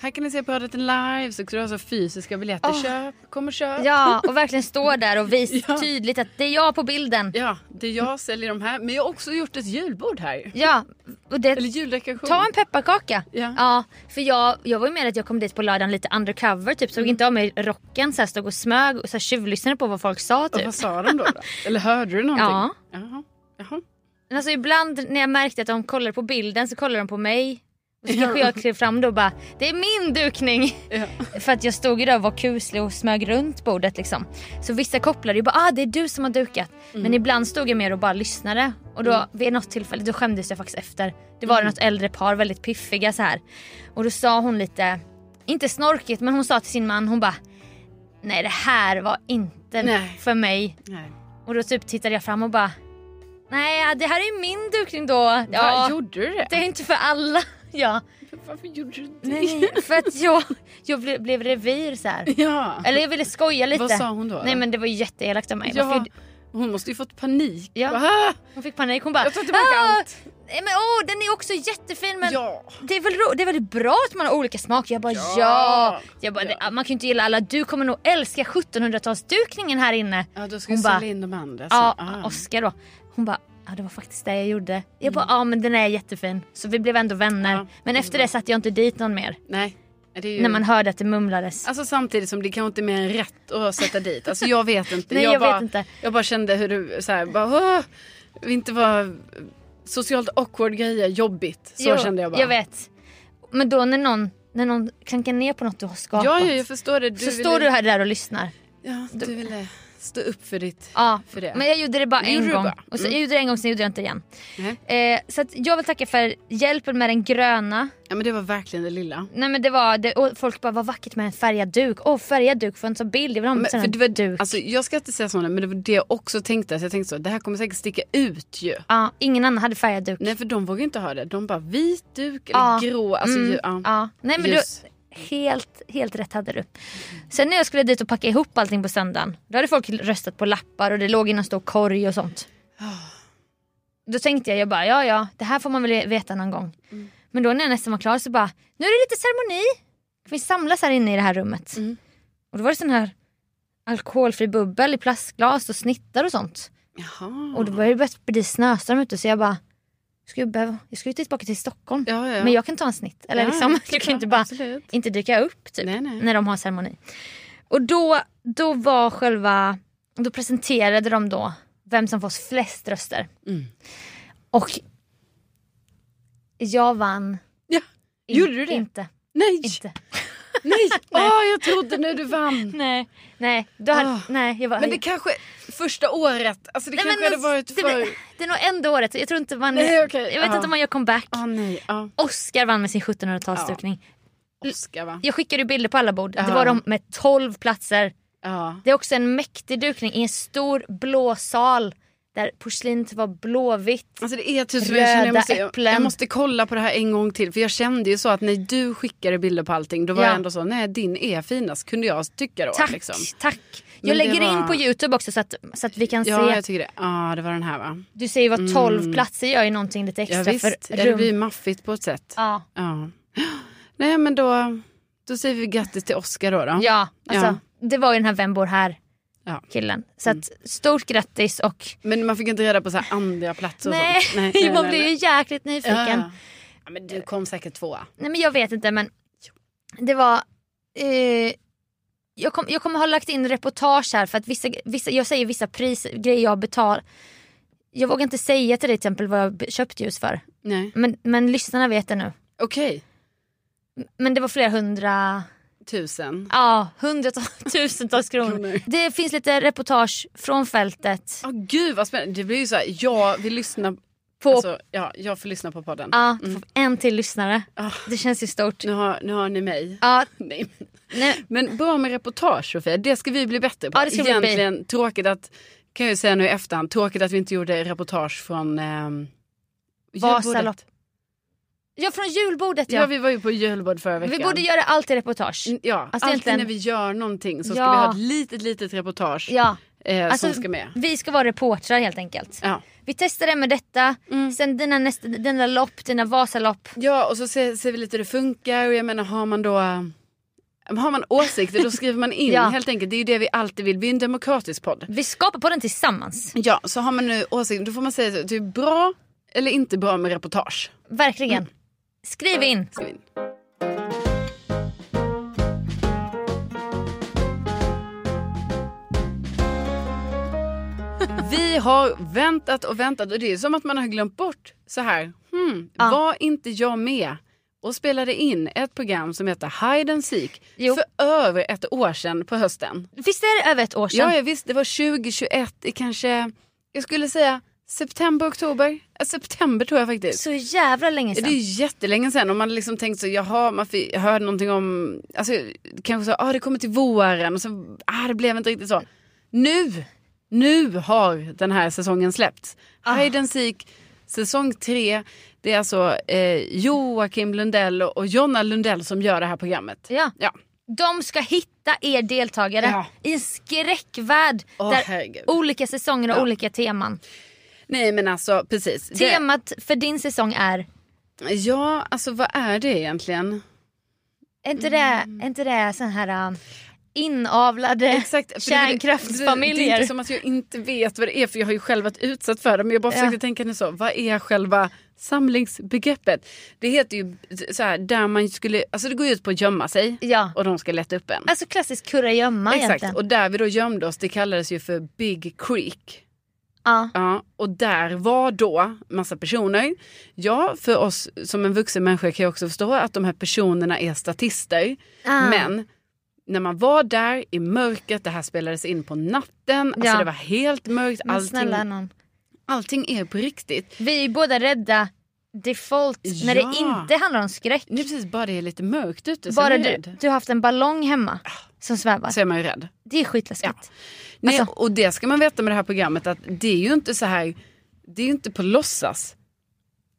[SPEAKER 2] Här kan ni se paradrätten live så skulle du ha så fysiska biljetter.
[SPEAKER 1] Åh.
[SPEAKER 2] Köp, kom och köp.
[SPEAKER 1] Ah. Ja, och verkligen stå där och visa
[SPEAKER 2] Ja.
[SPEAKER 1] tydligt att det är jag på bilden.
[SPEAKER 2] Ja, det är jag säljer de här. Men jag har också gjort ett julbord här.
[SPEAKER 1] Ja, och det,
[SPEAKER 2] Eller juldekoration.
[SPEAKER 1] Ta en pepparkaka.
[SPEAKER 2] Ja.
[SPEAKER 1] för jag, jag var ju med att jag kom dit på lördagen lite undercover. Typ, såg
[SPEAKER 2] Mm.
[SPEAKER 1] inte av mig rocken, så här, stod och smög och så här, tjuvlyssnade på vad folk sa.
[SPEAKER 2] Och
[SPEAKER 1] Typ.
[SPEAKER 2] vad sa de då? då? Eller hörde du någonting?
[SPEAKER 1] Ja.
[SPEAKER 2] Jaha. Jaha.
[SPEAKER 1] Men alltså, ibland när jag märkte att de kollade på bilden så kollade de på mig. Och så kanske jag klev fram då och bara “det är min dukning”.
[SPEAKER 2] Ja.
[SPEAKER 1] För att jag stod ju där och var kuslig och smög runt bordet liksom. Så vissa kopplade ju bara “ah det är du som har dukat”.
[SPEAKER 2] Mm.
[SPEAKER 1] Men ibland stod jag mer och bara lyssnade. Och då vid något tillfälle då skämdes jag faktiskt efter. Det
[SPEAKER 2] Mm.
[SPEAKER 1] var något äldre par, väldigt piffiga så här. Och då sa hon lite, inte snorkigt men hon sa till sin man, hon bara “nej det här var inte
[SPEAKER 2] Nej.
[SPEAKER 1] för mig”.
[SPEAKER 2] Nej.
[SPEAKER 1] Och då typ tittade jag fram och bara Nej, det här är ju min dukning då.
[SPEAKER 2] Va,
[SPEAKER 1] Ja,
[SPEAKER 2] gjorde du det?
[SPEAKER 1] det är inte för alla. Ja,
[SPEAKER 2] Varför gjorde du det?
[SPEAKER 1] nej, för att jag, jag ble, blev revir så här.
[SPEAKER 2] Ja.
[SPEAKER 1] Eller jag ville skoja lite.
[SPEAKER 2] Vad sa hon då?
[SPEAKER 1] Nej men det var ju jätteelakt av mig. Varför
[SPEAKER 2] ja.
[SPEAKER 1] gjorde-
[SPEAKER 2] Hon måste ju fått panik.
[SPEAKER 1] Ja.
[SPEAKER 2] Va?
[SPEAKER 1] Hon fick panik, hon bara
[SPEAKER 2] Jag tar tillbaka
[SPEAKER 1] "Ah,
[SPEAKER 2] allt."
[SPEAKER 1] Nej men åh, den är också jättefin men
[SPEAKER 2] Ja.
[SPEAKER 1] det, är väl ro- det är väldigt bra att man har olika smaker. Jag bara ja. Jag bara, "Det- Man kan ju inte gilla alla, du kommer nog älska 1700-talsdukningen här inne.
[SPEAKER 2] Ja, då ska
[SPEAKER 1] Hon
[SPEAKER 2] du sälja
[SPEAKER 1] bara-
[SPEAKER 2] in de andra. Så.
[SPEAKER 1] Ja,
[SPEAKER 2] Ah.
[SPEAKER 1] Oskar då. Hon bara, ja det var faktiskt det jag gjorde. Jag bara, ja men den är jättefin. Så vi blev ändå vänner.
[SPEAKER 2] Mm. Ja,
[SPEAKER 1] men efter det satte jag inte dit någon mer.
[SPEAKER 2] Nej. Det är ju...
[SPEAKER 1] När man hörde att det mumlades.
[SPEAKER 2] Alltså samtidigt som det kanske inte är mer än rätt att sätta dit. Alltså jag vet inte.
[SPEAKER 1] Nej, jag
[SPEAKER 2] bara,
[SPEAKER 1] vet inte.
[SPEAKER 2] jag bara kände hur du så här, bara, "Åh, vi inte var socialt awkward grejer, jobbigt. Så
[SPEAKER 1] Jo,
[SPEAKER 2] kände jag bara.
[SPEAKER 1] Jag vet. Men då när någon, när någon klankar ner på något du har skapat.
[SPEAKER 2] Ja, ja, jag förstår det. Du
[SPEAKER 1] så
[SPEAKER 2] ville-
[SPEAKER 1] står du här där och lyssnar.
[SPEAKER 2] Ja, du ville stå upp för ditt...
[SPEAKER 1] Ja,
[SPEAKER 2] för det.
[SPEAKER 1] men jag gjorde det bara
[SPEAKER 2] Det
[SPEAKER 1] en
[SPEAKER 2] gjorde du
[SPEAKER 1] gång.
[SPEAKER 2] bara.
[SPEAKER 1] Och så,
[SPEAKER 2] Mm.
[SPEAKER 1] Jag gjorde det en gång, sen gjorde jag inte det igen.
[SPEAKER 2] Nej.
[SPEAKER 1] Eh, så att jag vill tacka för hjälpen med den gröna.
[SPEAKER 2] Ja, men det var verkligen det lilla.
[SPEAKER 1] Nej men det var, det, och folk bara vad vackert med en färgad duk. Åh färgad duk, får jag en sån bild? Jag vill ha en
[SPEAKER 2] Men,
[SPEAKER 1] sån
[SPEAKER 2] för
[SPEAKER 1] här
[SPEAKER 2] det var,
[SPEAKER 1] duk.
[SPEAKER 2] Alltså, jag ska inte säga sådana, men det var det jag också tänkte. Så jag tänkte så, det här kommer säkert sticka ut ju.
[SPEAKER 1] Ja, ingen annan hade färgad duk.
[SPEAKER 2] Nej, för de vågar inte ha det. De bara vit duk eller
[SPEAKER 1] Ja.
[SPEAKER 2] grå. Alltså,
[SPEAKER 1] Mm,
[SPEAKER 2] ju, ja.
[SPEAKER 1] ja. Nej men du,
[SPEAKER 2] Ljus.
[SPEAKER 1] helt, helt rätt hade du. Sen när jag skulle dit och packa ihop allting på söndagen. Då hade folk röstat på lappar och det låg i någon stor korg och sånt. Då tänkte jag, jag bara ja ja, det här får man väl veta någon gång.
[SPEAKER 2] Mm.
[SPEAKER 1] Men då när jag nästan var klar så bara, nu är det lite ceremoni. Vi samlas här inne i det här rummet.
[SPEAKER 2] Mm.
[SPEAKER 1] Och då var det sån här alkoholfri bubbel i plastglas och snittar och sånt.
[SPEAKER 2] Jaha.
[SPEAKER 1] Och då började det börjat bli snöstorm ute så jag bara, ska jag, behöva, jag ska ju tillbaka till Stockholm.
[SPEAKER 2] ja, ja.
[SPEAKER 1] Men jag kan ta en snitt. Eller
[SPEAKER 2] Ja,
[SPEAKER 1] liksom,
[SPEAKER 2] såklart,
[SPEAKER 1] jag kan inte bara
[SPEAKER 2] Absolut.
[SPEAKER 1] inte dyka upp typ,
[SPEAKER 2] Nej, nej.
[SPEAKER 1] när de har ceremoni. Och då, då var själva, då presenterade de då vem som fått flest röster.
[SPEAKER 2] Mm.
[SPEAKER 1] Och jag vann.
[SPEAKER 2] Ja.
[SPEAKER 1] In-
[SPEAKER 2] Gjorde du det?
[SPEAKER 1] Inte.
[SPEAKER 2] Nej,
[SPEAKER 1] inte.
[SPEAKER 2] nej. Åh, jag trodde nu du vann.
[SPEAKER 1] Nej, nej, då hade,
[SPEAKER 2] Ah.
[SPEAKER 1] nej jag var,
[SPEAKER 2] Men det kanske, första året, alltså det
[SPEAKER 1] nej,
[SPEAKER 2] kanske hade
[SPEAKER 1] men
[SPEAKER 2] varit
[SPEAKER 1] det,
[SPEAKER 2] för...
[SPEAKER 1] det är nog enda året, jag tror inte man,
[SPEAKER 2] Nej, okej,
[SPEAKER 1] jag vet
[SPEAKER 2] ja.
[SPEAKER 1] inte om man gör comeback.
[SPEAKER 2] Ah, nej. Ah.
[SPEAKER 1] Oscar vann med sin 1700-talsdukning.
[SPEAKER 2] Oscar va?
[SPEAKER 1] Jag skickade ju bilder på alla bord, det
[SPEAKER 2] Ja.
[SPEAKER 1] var de med 12 platser.
[SPEAKER 2] Ja.
[SPEAKER 1] Det är också en mäktig dukning i en stor blå sal där porslinet var blåvitt.
[SPEAKER 2] Alltså det är typ som jag känner, jag
[SPEAKER 1] Röda
[SPEAKER 2] måste, jag,
[SPEAKER 1] äpplen.
[SPEAKER 2] jag måste kolla på det här en gång till. För jag kände ju så att när du skickade bilder på allting då var
[SPEAKER 1] Ja.
[SPEAKER 2] jag ändå så, nej din är finast kunde jag tycka då.
[SPEAKER 1] Tack,
[SPEAKER 2] liksom.
[SPEAKER 1] tack.
[SPEAKER 2] Men
[SPEAKER 1] Jag
[SPEAKER 2] det
[SPEAKER 1] lägger in
[SPEAKER 2] var-
[SPEAKER 1] på Youtube också så att, så att vi kan
[SPEAKER 2] Ja,
[SPEAKER 1] se.
[SPEAKER 2] jag tycker det. Ja, det var den här va?
[SPEAKER 1] Du ser ju vad 12 platser gör ju någonting lite
[SPEAKER 2] Ja,
[SPEAKER 1] extra för
[SPEAKER 2] visst. Ja, det
[SPEAKER 1] rum.
[SPEAKER 2] blir maffigt på ett sätt. Ja.
[SPEAKER 1] Ja,
[SPEAKER 2] Nej, men då, då säger vi grattis till Oscar då. då.
[SPEAKER 1] ja alltså,
[SPEAKER 2] Ja.
[SPEAKER 1] det var ju den här Vem bor här
[SPEAKER 2] Ja. Mm.
[SPEAKER 1] killen. Så att, stort grattis och
[SPEAKER 2] Men man fick inte reda på så här andra platser och
[SPEAKER 1] nej,
[SPEAKER 2] sånt.
[SPEAKER 1] man blir ju jäkligt nyfiken.
[SPEAKER 2] Ja, ja. ja, men du kom säkert tvåa.
[SPEAKER 1] Nej men jag vet inte men det var... Eh, jag, kom, jag kommer ha lagt in reportage här för att vissa, vissa, jag säger vissa pris, grejer jag betalar. Jag vågar inte säga till dig till exempel vad jag be- köpt ljus för.
[SPEAKER 2] Nej.
[SPEAKER 1] Men, men lyssnarna vet det nu.
[SPEAKER 2] Okej,
[SPEAKER 1] Men det var flera hundra,
[SPEAKER 2] tusen.
[SPEAKER 1] ja hundratals, tusentals kronor.
[SPEAKER 2] Kronor.
[SPEAKER 1] Det finns lite reportage från fältet.
[SPEAKER 2] Ja, gud vad spännande. Det blir ju så här, jag vill lyssna.
[SPEAKER 1] På,
[SPEAKER 2] Alltså, ja, jag får lyssna på podden.
[SPEAKER 1] ja, får En till lyssnare.
[SPEAKER 2] Ah.
[SPEAKER 1] Det känns ju stort.
[SPEAKER 2] Nu, har, nu har ni mig.
[SPEAKER 1] Ja,
[SPEAKER 2] Nej.
[SPEAKER 1] nej,
[SPEAKER 2] Men bra med reportage Sofia, det ska vi bli bättre på.
[SPEAKER 1] Ja, det ska vi bli.
[SPEAKER 2] Egentligen tråkigt att, kan jag ju säga nu i efterhand, tråkigt att vi inte gjorde reportage från ehm,
[SPEAKER 1] Vasaloppet.
[SPEAKER 2] julbordet.
[SPEAKER 1] ja från julbordet
[SPEAKER 2] Ja.
[SPEAKER 1] ja.
[SPEAKER 2] vi var ju på julbord förra veckan.
[SPEAKER 1] vi borde göra allt i reportage.
[SPEAKER 2] Mm, Ja,
[SPEAKER 1] Alltså,
[SPEAKER 2] alltid
[SPEAKER 1] egentligen-
[SPEAKER 2] när vi gör någonting så ska
[SPEAKER 1] Ja.
[SPEAKER 2] vi ha ett litet, litet reportage
[SPEAKER 1] Ja.
[SPEAKER 2] eh,
[SPEAKER 1] Alltså,
[SPEAKER 2] som ska med.
[SPEAKER 1] Vi ska vara reportrar helt enkelt.
[SPEAKER 2] Ja. Mm.
[SPEAKER 1] Vi testar det med detta, sen dina, nästa, dina lopp, dina Vasalopp.
[SPEAKER 2] Ja, och så ser, ser vi lite hur det funkar. Och jag menar, har man då... eh, Har man åsikter då skriver man in
[SPEAKER 1] Ja.
[SPEAKER 2] helt enkelt. Det är ju det vi alltid vill. Vi är en demokratisk podd.
[SPEAKER 1] Vi skapar på den tillsammans,
[SPEAKER 2] Ja, så har man nu åsikter då får man säga så, det är bra eller inte bra med reportage.
[SPEAKER 1] verkligen.
[SPEAKER 2] Mm.
[SPEAKER 1] Skriv in.
[SPEAKER 2] Skriv in. Vi har väntat och väntat och det är som att man har glömt bort så här. Hmm,
[SPEAKER 1] Ja.
[SPEAKER 2] Var inte jag med och spelade in ett program som heter Hide and Seek
[SPEAKER 1] Jo.
[SPEAKER 2] för över ett år sedan på hösten.
[SPEAKER 1] Visst är det över ett år sedan?
[SPEAKER 2] Ja, ja visst, det var 2021 i kanske, jag skulle säga september, oktober. Eh, September tror jag faktiskt.
[SPEAKER 1] Så jävla länge sedan.
[SPEAKER 2] Det är ju jättelänge sedan och man hade liksom tänkt så, jaha, man fick, hörde någonting om, alltså kanske så, ah det kommer till våren och så, ah det blev inte riktigt så. Nu, nu har den här säsongen släppts. Hide and Seek, säsong tre, det är alltså eh, Joakim Lundell och Jonna Lundell som gör det här programmet.
[SPEAKER 1] Ja.
[SPEAKER 2] Ja,
[SPEAKER 1] De ska hitta er deltagare
[SPEAKER 2] Ja.
[SPEAKER 1] i en skräckvärld
[SPEAKER 2] Åh,
[SPEAKER 1] där
[SPEAKER 2] herregud.
[SPEAKER 1] olika säsonger och olika teman.
[SPEAKER 2] nej men alltså precis. Det-
[SPEAKER 1] Temat för din säsong är,
[SPEAKER 2] Ja, alltså vad är det egentligen?
[SPEAKER 1] är inte det, är inte det sån här... äh, inavlade.
[SPEAKER 2] Mm. Exakt, för det är väl-
[SPEAKER 1] Kärnkraftsfamiljer.
[SPEAKER 2] Det, det är inte som att jag inte vet vad det är för jag har ju själv varit utsatt för det. Men jag bara försökte
[SPEAKER 1] Ja.
[SPEAKER 2] tänka nu så, vad är själva samlingsbegreppet? Det heter ju så här, där man skulle, alltså det går ju ut på att gömma sig
[SPEAKER 1] Ja.
[SPEAKER 2] och de ska leta upp en.
[SPEAKER 1] Alltså klassisk kurragömma
[SPEAKER 2] Exakt,
[SPEAKER 1] egentligen.
[SPEAKER 2] och där vi då gömde oss det kallades ju för Big Creek.
[SPEAKER 1] Ja.
[SPEAKER 2] Ja, och där var då massa personer. Ja, för oss som en vuxen människa kan jag också förstå att de här personerna är statister.
[SPEAKER 1] Ah.
[SPEAKER 2] Men när man var där i mörkret, det här spelades in på natten, alltså
[SPEAKER 1] Ja.
[SPEAKER 2] det var helt mörkt,
[SPEAKER 1] Men
[SPEAKER 2] allting,
[SPEAKER 1] snälla någon.
[SPEAKER 2] allting är på riktigt.
[SPEAKER 1] Vi är ju båda rädda default när
[SPEAKER 2] Ja.
[SPEAKER 1] det inte handlar om skräck.
[SPEAKER 2] Nu precis bara det är lite mörkt ute så är
[SPEAKER 1] Bara
[SPEAKER 2] man
[SPEAKER 1] du,
[SPEAKER 2] rädd. Ah.
[SPEAKER 1] du har haft en ballong hemma som svävar.
[SPEAKER 2] Så är man ju rädd.
[SPEAKER 1] Det är skitläskigt.
[SPEAKER 2] Nej,
[SPEAKER 1] Alltså-
[SPEAKER 2] och det ska man veta med det här programmet att det är ju inte så här, det är ju inte på låtsas.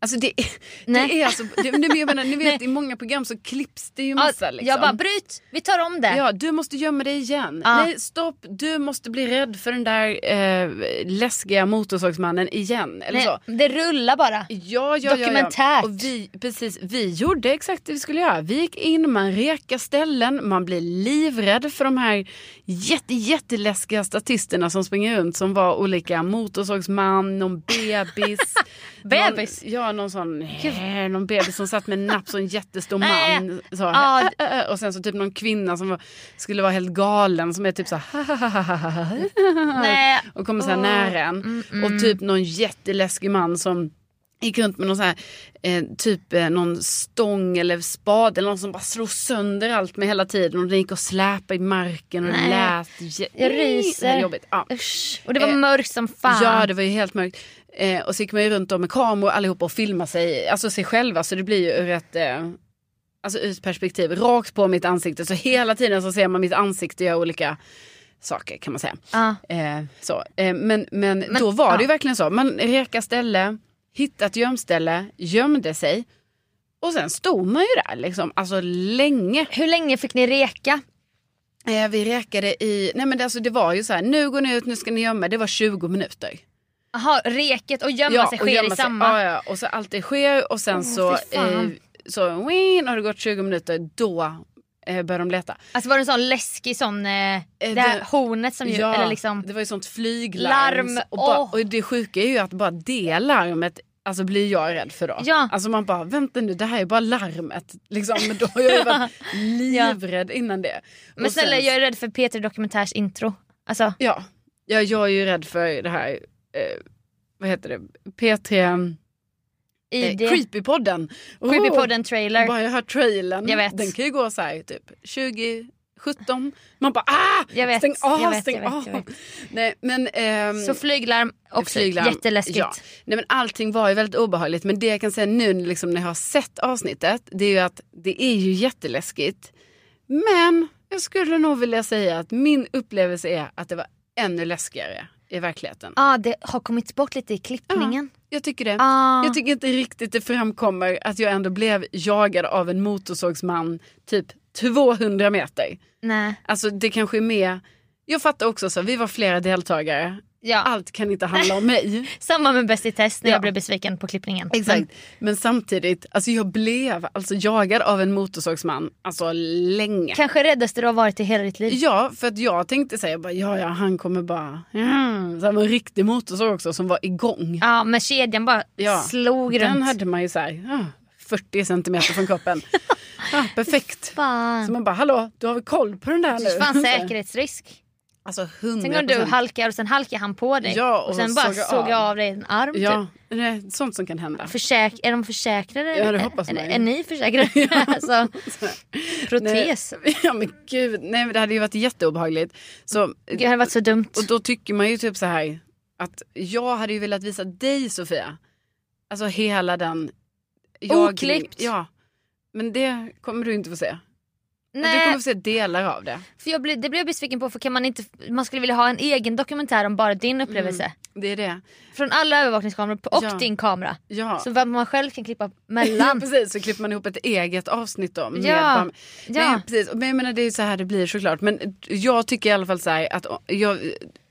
[SPEAKER 2] Alltså det, det
[SPEAKER 1] Nej.
[SPEAKER 2] är alltså, det, men jag menar, ni vet i många program så klipps det ju
[SPEAKER 1] Ja.
[SPEAKER 2] massa liksom.
[SPEAKER 1] Jag bara bryt, vi tar om det.
[SPEAKER 2] Ja, du måste gömma dig igen.
[SPEAKER 1] Ja.
[SPEAKER 2] Nej, stopp. Du måste bli rädd för den där eh, läskiga motorsågsmannen igen. Eller
[SPEAKER 1] Nej,
[SPEAKER 2] så.
[SPEAKER 1] det rullar bara.
[SPEAKER 2] Ja, ja, Ja, ja.
[SPEAKER 1] Dokumentärt.
[SPEAKER 2] Och vi, precis, vi gjorde exakt det vi skulle göra. Vi gick in, man rekade ställen, man blir livrädd för de här jätte, jätteläskiga statisterna som springer runt som var olika motorsågsman, någon bebis.
[SPEAKER 1] Bebis?
[SPEAKER 2] Någon, ja, någon sån eh, någon bebis som satt med en napp, så en jättestor
[SPEAKER 1] Nej.
[SPEAKER 2] man. Så,
[SPEAKER 1] Äh, Ja.
[SPEAKER 2] eh, eh, eh, och sen så typ någon kvinna som var, skulle vara helt galen som är typ så här
[SPEAKER 1] Nej. Mm.
[SPEAKER 2] och kommer så här nära en. Och typ någon jätteläskig man som gick runt med någon så här, eh, typ eh, någon stång eller spade eller någon som bara slog sönder allt med hela tiden och den gick och släpade i marken och det
[SPEAKER 1] Nej.
[SPEAKER 2] lät jä-
[SPEAKER 1] Jag
[SPEAKER 2] Det
[SPEAKER 1] ryser.
[SPEAKER 2] var jobbigt. Ja.
[SPEAKER 1] Usch. Och det var
[SPEAKER 2] Eh,
[SPEAKER 1] mörkt som fan.
[SPEAKER 2] ja det var ju helt mörkt. Eh, och så gick man ju runt om med kameror allihopa och filmade sig, alltså sig själva så det blir ju ur ett eh, Alltså ur ett perspektiv rakt på mitt ansikte så hela tiden så ser man mitt ansikte göra olika saker kan man säga.
[SPEAKER 1] Ja.
[SPEAKER 2] Eh, så. Eh, men, men,
[SPEAKER 1] Men-
[SPEAKER 2] då var det ju
[SPEAKER 1] ja.
[SPEAKER 2] verkligen så. Man reka ställe, hittade ett gömställe, gömde sig. Och sen stod man ju där liksom, alltså länge.
[SPEAKER 1] Hur länge fick ni reka?
[SPEAKER 2] Eh, vi rekade i, nej men det, alltså, det var ju så här, nu går ni ut, nu ska ni gömma er. Det var 20 minuter.
[SPEAKER 1] Jaha, reket och gömma sig
[SPEAKER 2] och
[SPEAKER 1] sker
[SPEAKER 2] gömma
[SPEAKER 1] i
[SPEAKER 2] sig.
[SPEAKER 1] samma.
[SPEAKER 2] Ja, ja, och så allt det sker och sen
[SPEAKER 1] Åh,
[SPEAKER 2] så,
[SPEAKER 1] fy fan.
[SPEAKER 2] eh, så win, har det gått 20 minuter, då eh, börjar de leta.
[SPEAKER 1] Alltså var det en sån läskig sån, eh, det här
[SPEAKER 2] det-
[SPEAKER 1] hornet som ju,
[SPEAKER 2] Ja,
[SPEAKER 1] eller liksom.
[SPEAKER 2] det var ju sånt flyglarm.
[SPEAKER 1] Larm,
[SPEAKER 2] och, bara,
[SPEAKER 1] åh.
[SPEAKER 2] och det sjuka är ju att bara det larmet Alltså blir jag rädd för då.
[SPEAKER 1] Ja.
[SPEAKER 2] Alltså man bara, vänta nu det här är bara larmet. Liksom, men då har jag ju varit livrädd innan det.
[SPEAKER 1] Men
[SPEAKER 2] Och sen-
[SPEAKER 1] snälla jag är rädd för Peter Dokumentärs intro. Alltså,
[SPEAKER 2] Ja. ja, jag är ju rädd för det här, eh, vad heter det, P3, eh,
[SPEAKER 1] ID.
[SPEAKER 2] Creepypodden. Oh.
[SPEAKER 1] Creepypodden trailer.
[SPEAKER 2] Bara jag hört trailern.
[SPEAKER 1] Jag vet.
[SPEAKER 2] Den kan ju gå så här typ 2017. Man bara ah!
[SPEAKER 1] Jag vet,
[SPEAKER 2] stäng av,
[SPEAKER 1] jag vet,
[SPEAKER 2] stäng
[SPEAKER 1] jag vet,
[SPEAKER 2] av.
[SPEAKER 1] jag vet.
[SPEAKER 2] Nej men... ehm,
[SPEAKER 1] Så flyglarm också,
[SPEAKER 2] flyglarm.
[SPEAKER 1] jätteläskigt.
[SPEAKER 2] Ja. Nej, men allting var ju väldigt obehagligt. Men det jag kan säga nu liksom, när jag har sett avsnittet. Det är ju att det är ju jätteläskigt. Men jag skulle nog vilja säga att min upplevelse är att det var ännu läskigare i verkligheten.
[SPEAKER 1] Ah, det har kommit bort lite i klippningen.
[SPEAKER 2] Jag tycker det.
[SPEAKER 1] Ah.
[SPEAKER 2] Jag tycker inte riktigt det framkommer att jag ändå blev jagad av en motorsågsman typ 200 meter.
[SPEAKER 1] Nej.
[SPEAKER 2] Alltså det kanske är med. Jag fattar också så, vi var flera deltagare.
[SPEAKER 1] Ja.
[SPEAKER 2] Allt kan inte handla om mig.
[SPEAKER 1] Ah, Samma med Bäst i test när
[SPEAKER 2] Ja.
[SPEAKER 1] jag blev besviken på klippningen.
[SPEAKER 2] Men, men samtidigt, alltså jag blev alltså jagad av en motorsågsman, alltså länge.
[SPEAKER 1] Kanske räddaste du har varit i hela ditt liv.
[SPEAKER 2] Ja, för att jag tänkte säga bara, ja ja, han kommer bara, mm. så här var en riktig motorsåg också som var igång.
[SPEAKER 1] Ja, men kedjan bara
[SPEAKER 2] Ja.
[SPEAKER 1] slog runt.
[SPEAKER 2] Den hade man ju så här, ah, 40 centimeter från kroppen. ah, perfekt.
[SPEAKER 1] Fan.
[SPEAKER 2] Så man bara, hallå, du har väl koll på den där
[SPEAKER 1] Det
[SPEAKER 2] nu?
[SPEAKER 1] fanns säkerhetsrisk.
[SPEAKER 2] Alltså 100
[SPEAKER 1] Tänk om du halkar och sen halkar han på dig.
[SPEAKER 2] Ja,
[SPEAKER 1] och,
[SPEAKER 2] och
[SPEAKER 1] sen bara
[SPEAKER 2] såg
[SPEAKER 1] såg
[SPEAKER 2] jag
[SPEAKER 1] jag
[SPEAKER 2] av.
[SPEAKER 1] av dig en arm.
[SPEAKER 2] Ja,
[SPEAKER 1] Typ.
[SPEAKER 2] det är sånt som kan hända.
[SPEAKER 1] Försäk- är de försäkrade?
[SPEAKER 2] Ja, det hoppas
[SPEAKER 1] är,
[SPEAKER 2] man ju.
[SPEAKER 1] är ni försäkrade? alltså, protes.
[SPEAKER 2] Nej, ja men gud, nej men det hade ju varit jätteobehagligt. Så,
[SPEAKER 1] Det hade varit så dumt.
[SPEAKER 2] och då tycker man ju typ så här att jag hade ju velat visa dig Sofia. Alltså hela den... jag-
[SPEAKER 1] Oklippt.
[SPEAKER 2] Ja. Men det kommer du inte få se. Du kommer
[SPEAKER 1] Nej,
[SPEAKER 2] få se delar av det.
[SPEAKER 1] för jag blev, det blev jag besviken på för kan man, inte, man skulle vilja ha en egen dokumentär om bara din upplevelse.
[SPEAKER 2] Det är det.
[SPEAKER 1] Från alla övervakningskameror på- och
[SPEAKER 2] Mm. Ja.
[SPEAKER 1] din kamera.
[SPEAKER 2] Ja.
[SPEAKER 1] Så vem man själv kan klippa
[SPEAKER 2] Ja,
[SPEAKER 1] mellan.
[SPEAKER 2] precis, så klipper man ihop ett eget avsnitt då. med
[SPEAKER 1] Ja,
[SPEAKER 2] Bam-
[SPEAKER 1] ja.
[SPEAKER 2] Nej, precis. Men jag menar det är ju så här det blir såklart. Men jag tycker i alla fall så här att å- jag,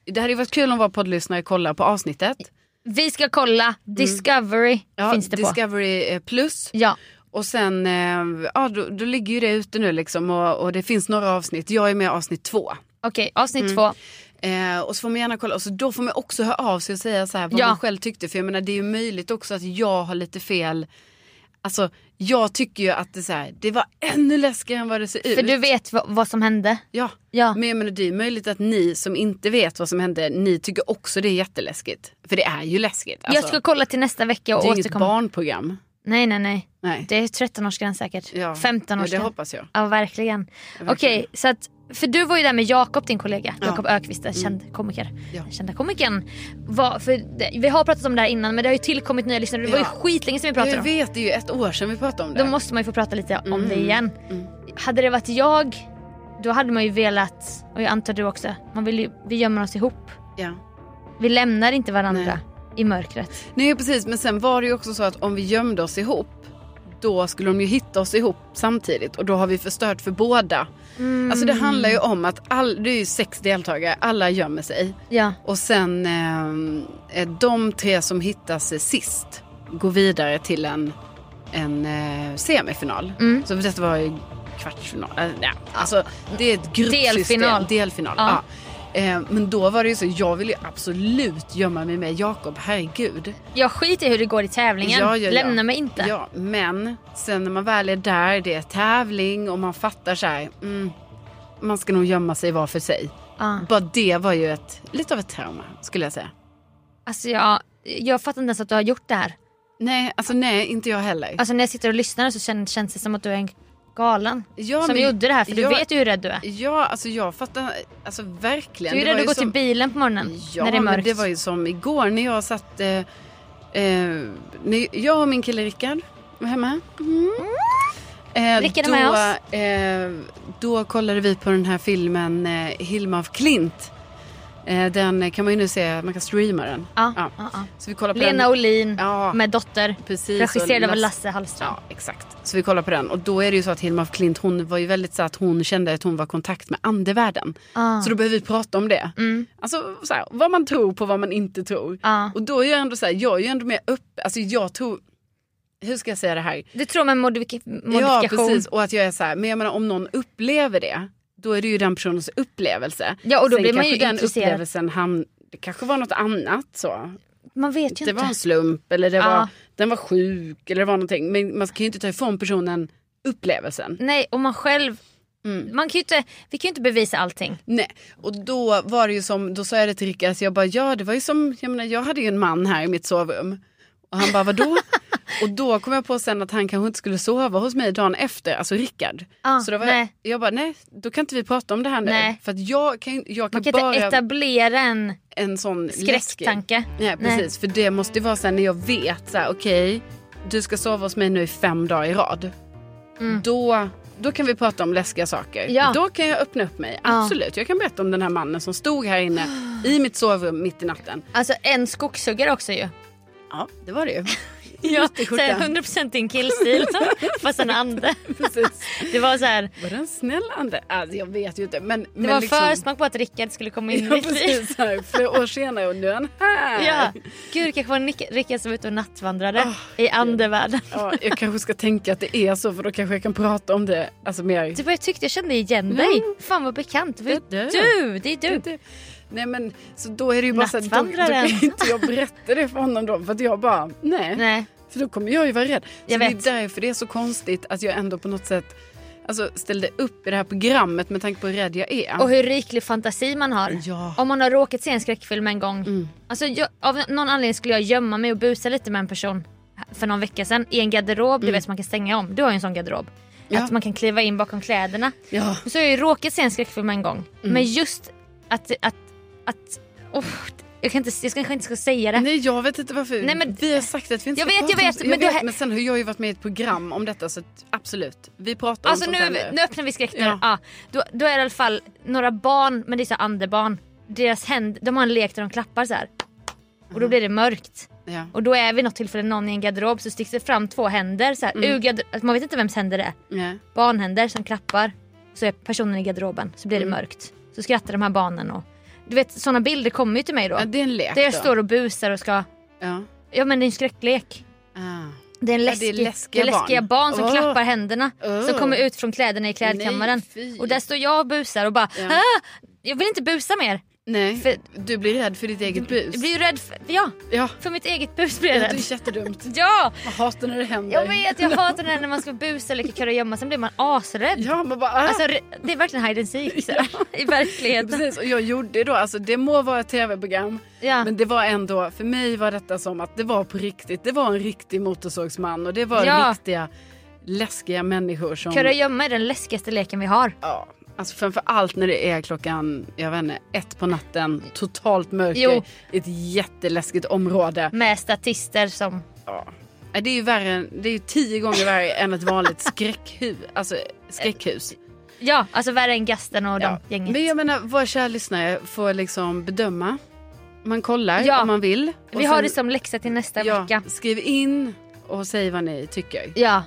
[SPEAKER 2] det hade ju varit kul om våra poddlyssnare kollar på avsnittet.
[SPEAKER 1] Vi ska kolla, Discovery
[SPEAKER 2] Mm. Ja,
[SPEAKER 1] finns det på.
[SPEAKER 2] Discovery eh, plus.
[SPEAKER 1] Ja.
[SPEAKER 2] Och sen, eh, ja då, då ligger ju det ute nu liksom och, och det finns några avsnitt. Jag är med i avsnitt två.
[SPEAKER 1] Okej, avsnitt
[SPEAKER 2] Mm.
[SPEAKER 1] två.
[SPEAKER 2] Eh, och så får man gärna kolla, och så då får man också höra av sig och säga så här vad
[SPEAKER 1] Ja.
[SPEAKER 2] man själv tyckte. För jag menar det är ju möjligt också att jag har lite fel. Alltså jag tycker ju att det, så här, det var ännu läskigare än vad det ser ut. Mm,
[SPEAKER 1] För du vet vad, vad som hände.
[SPEAKER 2] Ja.
[SPEAKER 1] Ja.
[SPEAKER 2] Men jag menar det är ju möjligt att ni som inte vet vad som hände, ni tycker också det är jätteläskigt. För det är ju läskigt. Alltså,
[SPEAKER 1] jag ska kolla till nästa vecka och
[SPEAKER 2] det är inget
[SPEAKER 1] återkomma.
[SPEAKER 2] barnprogram.
[SPEAKER 1] Nej, nej, nej.
[SPEAKER 2] Nej.
[SPEAKER 1] Det är 13-årsgräns säkert.
[SPEAKER 2] Ja.
[SPEAKER 1] 15-årsgräns.
[SPEAKER 2] Ja, det hoppas jag.
[SPEAKER 1] Ja, verkligen.
[SPEAKER 2] Verkligen.
[SPEAKER 1] Okej, så att, för du var ju där med Jakob, din kollega.
[SPEAKER 2] Ja. Mm.
[SPEAKER 1] Jakob Ökvist, den känd komiker.
[SPEAKER 2] Ja.
[SPEAKER 1] Den Kända komikern. Vad- för det, vi har pratat om det här innan men det har ju tillkommit nya lyssnare. Det var ju
[SPEAKER 2] Ja.
[SPEAKER 1] skitlänge sedan vi pratade
[SPEAKER 2] Jag
[SPEAKER 1] om det.
[SPEAKER 2] vet, det är ju ett år sedan vi pratade om det.
[SPEAKER 1] Då måste man ju få prata lite om
[SPEAKER 2] Mm.
[SPEAKER 1] det igen.
[SPEAKER 2] Mm.
[SPEAKER 1] Hade det varit jag, då hade man ju velat, och jag antar du också, man vill ju, vi gömmer oss ihop.
[SPEAKER 2] ja.
[SPEAKER 1] Vi lämnar inte varandra i mörkret.
[SPEAKER 2] Nej precis, men sen var det ju också så att om vi gömde oss ihop då skulle de ju hitta oss ihop samtidigt och då har vi förstört för båda. Alltså
[SPEAKER 1] Mm.
[SPEAKER 2] det handlar ju om att all, det är ju sex deltagare, alla gömmer sig
[SPEAKER 1] Ja,
[SPEAKER 2] och sen eh, de tre som hittas sist går vidare till en, en eh, semifinal.
[SPEAKER 1] Mm.
[SPEAKER 2] Så detta var ju kvartsfinal, eh, nej. alltså det är ett gruppsystem.
[SPEAKER 1] Delfinal.
[SPEAKER 2] Delfinal,
[SPEAKER 1] Ja.
[SPEAKER 2] ja. Eh, men då var det ju så, jag ville ju absolut gömma mig med Jakob, herregud.
[SPEAKER 1] jag skiter i hur det går i tävlingen.
[SPEAKER 2] Ja, ja, ja.
[SPEAKER 1] Lämna mig inte.
[SPEAKER 2] Ja, men sen när man väl är där, det är tävling och man fattar så här, mm, man ska nog gömma sig var för sig.
[SPEAKER 1] Ja.
[SPEAKER 2] Bara det var ju ett, lite av ett trauma skulle jag säga.
[SPEAKER 1] Alltså jag, jag fattar inte ens att du har gjort det här.
[SPEAKER 2] Nej, alltså nej, inte jag heller.
[SPEAKER 1] Alltså när jag sitter och lyssnar så känns, känns det som att du är en galen.
[SPEAKER 2] Ja,
[SPEAKER 1] som
[SPEAKER 2] men-
[SPEAKER 1] gjorde det här för
[SPEAKER 2] ja,
[SPEAKER 1] du vet ju hur rädd du är.
[SPEAKER 2] Ja, alltså jag fattar, alltså verkligen.
[SPEAKER 1] Du är
[SPEAKER 2] Det var
[SPEAKER 1] rädd att
[SPEAKER 2] ju
[SPEAKER 1] gå till
[SPEAKER 2] som-
[SPEAKER 1] bilen på morgonen
[SPEAKER 2] Ja,
[SPEAKER 1] när det är
[SPEAKER 2] men
[SPEAKER 1] mörkt.
[SPEAKER 2] det var ju som igår när jag satt, eh, eh, när jag och min kille Rickard var hemma. Mm. Eh,
[SPEAKER 1] Rickard är
[SPEAKER 2] då,
[SPEAKER 1] med
[SPEAKER 2] Eh, då kollade vi på den här filmen eh, Hilma af Klint. Eh, den kan man ju nu se, man kan streama den.
[SPEAKER 1] ja,
[SPEAKER 2] Ja.
[SPEAKER 1] ja. Ja,
[SPEAKER 2] Så vi kollar på
[SPEAKER 1] Lena
[SPEAKER 2] den.
[SPEAKER 1] Olin
[SPEAKER 2] Ja.
[SPEAKER 1] med Dotter.
[SPEAKER 2] Precis,
[SPEAKER 1] regisserad
[SPEAKER 2] och
[SPEAKER 1] av
[SPEAKER 2] Lasse-
[SPEAKER 1] Lasse Hallström.
[SPEAKER 2] Ja, exakt. Så vi kollar på den. Och då är det ju så att Hilma af Klint, hon var ju väldigt så att hon kände att hon var i kontakt med andevärlden.
[SPEAKER 1] Ah.
[SPEAKER 2] Så då behöver vi prata om det.
[SPEAKER 1] Mm.
[SPEAKER 2] Alltså så här, vad man tror på vad man inte tror.
[SPEAKER 1] Ja.
[SPEAKER 2] Och då är jag ändå så här, jag är ju ändå mer upp, alltså jag tror, hur ska jag säga det här?
[SPEAKER 1] Du tror med modifik-
[SPEAKER 2] Ja
[SPEAKER 1] modifikation.
[SPEAKER 2] precis, och att jag är så här, men jag menar om någon upplever det, då är det ju den personens upplevelse.
[SPEAKER 1] Ja, och då
[SPEAKER 2] Sen
[SPEAKER 1] blir man
[SPEAKER 2] kanske
[SPEAKER 1] ju
[SPEAKER 2] den
[SPEAKER 1] intresserad.
[SPEAKER 2] upplevelsen hamn, det kanske var något annat så.
[SPEAKER 1] Man vet ju
[SPEAKER 2] Det
[SPEAKER 1] inte.
[SPEAKER 2] var en slump eller det var,
[SPEAKER 1] Ja.
[SPEAKER 2] den var sjuk eller det var någonting. Men man kan ju inte ta ifrån personen upplevelsen.
[SPEAKER 1] Nej, och man själv.
[SPEAKER 2] Mm.
[SPEAKER 1] Man kan ju inte, vi kan ju inte bevisa allting.
[SPEAKER 2] Nej, och då var det ju som, då sa jag det till Rickard, så jag bara ja det var ju som, jag menar jag hade ju en man här i mitt sovrum. Och han bara vadå? och då kom jag på sen att han kanske inte skulle sova hos mig dagen efter, alltså Rickard.
[SPEAKER 1] Ah,
[SPEAKER 2] så då var
[SPEAKER 1] nej.
[SPEAKER 2] jag, jag bara nej, då kan inte vi prata om det här nu.
[SPEAKER 1] Nej.
[SPEAKER 2] För att jag kan, jag kan,
[SPEAKER 1] Man kan
[SPEAKER 2] bara
[SPEAKER 1] inte etablera en
[SPEAKER 2] en sån läskig-
[SPEAKER 1] skräcktanke.
[SPEAKER 2] Nej precis, för det måste ju vara sen när jag vet så här, okej du ska sova hos mig nu i fem dagar i rad. Då, då kan vi prata om läskiga saker.
[SPEAKER 1] Mm. Ja.
[SPEAKER 2] Då kan jag öppna upp mig. Absolut, jag kan berätta om den här mannen som stod här inne i mitt sovrum mitt i natten.
[SPEAKER 1] Alltså en skogshuggare också ju.
[SPEAKER 2] Ja, det var det ju.
[SPEAKER 1] Ja,
[SPEAKER 2] Mitt i
[SPEAKER 1] så här,
[SPEAKER 2] skjortan.
[SPEAKER 1] 100% din killstil fast en ande.
[SPEAKER 2] Precis.
[SPEAKER 1] Det var så här,
[SPEAKER 2] Var det en snäll ande? Alltså, jag vet ju inte. Men,
[SPEAKER 1] det
[SPEAKER 2] men
[SPEAKER 1] var
[SPEAKER 2] liksom,
[SPEAKER 1] försmak på att Rickard skulle komma in i
[SPEAKER 2] Ja,
[SPEAKER 1] mitt liv.
[SPEAKER 2] precis. Så här, flera år senare och nu är han här.
[SPEAKER 1] Ja. Gud, det kanske var Nick- Rickard som var ute och nattvandrade i andevärlden.
[SPEAKER 2] Ja, jag kanske ska tänka att det är så för då kanske jag kan prata om det alltså, mer
[SPEAKER 1] Typ vad jag tyckte jag kände igen dig. Fan vad bekant. Det var ju
[SPEAKER 2] Det är
[SPEAKER 1] du. Det är du.
[SPEAKER 2] inte. Nej men så då är det ju bara så här, då, då
[SPEAKER 1] Nattvandraren.
[SPEAKER 2] kan inte jag berätta det för honom då för att jag bara nej.
[SPEAKER 1] Nej.
[SPEAKER 2] För då kommer jag ju vara rädd. Så
[SPEAKER 1] Jag
[SPEAKER 2] det
[SPEAKER 1] vet.
[SPEAKER 2] är därför det är så konstigt att jag ändå på något sätt alltså, ställde upp i det här programmet med tanke på hur rädd jag är.
[SPEAKER 1] Och hur riklig fantasi man har.
[SPEAKER 2] Ja.
[SPEAKER 1] Om man har råkat se en skräckfilm en gång. Alltså, jag, av någon anledning skulle jag gömma mig och busa lite med en person för någon vecka sedan i en garderob du vet som man kan stänga om. Du har ju en sån garderob.
[SPEAKER 2] Ja.
[SPEAKER 1] Att man kan kliva in bakom kläderna.
[SPEAKER 2] Ja.
[SPEAKER 1] Och Så har jag ju råkat se en skräckfilm en gång. Men just att... att, att oh, jag, kan inte, jag kanske inte ska säga det.
[SPEAKER 2] Nej jag vet inte varför.
[SPEAKER 1] Nej, men-
[SPEAKER 2] vi har sagt att vi inte
[SPEAKER 1] Jag
[SPEAKER 2] ska
[SPEAKER 1] vet, jag
[SPEAKER 2] prata om-
[SPEAKER 1] vet, men det här-
[SPEAKER 2] men sen har jag ju varit med i ett program om detta så att, absolut. Vi pratar
[SPEAKER 1] Alltså
[SPEAKER 2] om
[SPEAKER 1] nu,
[SPEAKER 2] sånt här
[SPEAKER 1] nu öppnar vi skräckdörren.
[SPEAKER 2] Ja.
[SPEAKER 1] Ja. då, då är det i alla fall några barn, men det är så här andebarn. Deras händ, de har en lek där de klappar så här. Och då blir det mörkt.
[SPEAKER 2] Ja.
[SPEAKER 1] Och då är vid något tillfälle någon i en garderob så sticks det fram två händer. Så här, ur garder- alltså, man vet inte vems händer det är.
[SPEAKER 2] Ja.
[SPEAKER 1] Barnhänder som klappar. Så är personen i garderoben. Så blir det mörkt. Så skrattar de här barnen. Och, du vet sådana bilder kommer ju till mig då.
[SPEAKER 2] ja det är en lek
[SPEAKER 1] där jag
[SPEAKER 2] då.
[SPEAKER 1] står och busar och ska...
[SPEAKER 2] Ja.
[SPEAKER 1] Ja men det är en skräcklek.
[SPEAKER 2] Ah.
[SPEAKER 1] Det är, en
[SPEAKER 2] Ja, det är
[SPEAKER 1] läskig, det är läskiga,
[SPEAKER 2] läskiga barn.
[SPEAKER 1] barn som
[SPEAKER 2] Åh.
[SPEAKER 1] klappar händerna som
[SPEAKER 2] Åh.
[SPEAKER 1] kommer ut från kläderna i klädkammaren.
[SPEAKER 2] Nej, fy.
[SPEAKER 1] och där står jag och busar och bara
[SPEAKER 2] Ja.
[SPEAKER 1] ah, jag vill inte busa mer.
[SPEAKER 2] Nej,
[SPEAKER 1] För-
[SPEAKER 2] du blir rädd för ditt eget bus.
[SPEAKER 1] Jag blir ju rädd för, ja,
[SPEAKER 2] Ja,
[SPEAKER 1] för mitt eget bus. Blir
[SPEAKER 2] det
[SPEAKER 1] jag
[SPEAKER 2] är
[SPEAKER 1] rädd.
[SPEAKER 2] ju jättedumt.
[SPEAKER 1] Ja,
[SPEAKER 2] Jag hatar när det händer.
[SPEAKER 1] jag vet jag hatar när när man ska busa eller kicka och gömma sen blir man asrädd.
[SPEAKER 2] Ja, man bara... Ah.
[SPEAKER 1] Alltså, re- det är verkligen hide and seek så här, i verkligheten.
[SPEAKER 2] Precis, och jag gjorde då, alltså det må vara ett tv-program,
[SPEAKER 1] Ja.
[SPEAKER 2] men det var ändå, för mig var detta som att det var på riktigt. Det var en riktig motorsågsman och det var
[SPEAKER 1] Ja.
[SPEAKER 2] riktiga läskiga människor som...
[SPEAKER 1] Köra och gömma är den läskigaste leken vi har.
[SPEAKER 2] Ja, alltså framför allt när det är klockan, jag vet inte, ett på natten, totalt mörker
[SPEAKER 1] Jo.
[SPEAKER 2] i ett jätteläskigt område.
[SPEAKER 1] Med statister som...
[SPEAKER 2] Ja. Det är ju värre, än- det är ju tio gånger värre än ett vanligt skräckhus. Alltså skräckhus.
[SPEAKER 1] Ja, alltså värre än gasten och
[SPEAKER 2] Ja.
[SPEAKER 1] de gänget.
[SPEAKER 2] Men jag menar, våra kära lyssnare får liksom bedöma. Man kollar
[SPEAKER 1] Ja.
[SPEAKER 2] om man vill. Och
[SPEAKER 1] Vi har
[SPEAKER 2] sen-
[SPEAKER 1] det som läxa till nästa
[SPEAKER 2] ja,
[SPEAKER 1] vecka.
[SPEAKER 2] Skriv in och säg vad ni tycker.
[SPEAKER 1] Ja,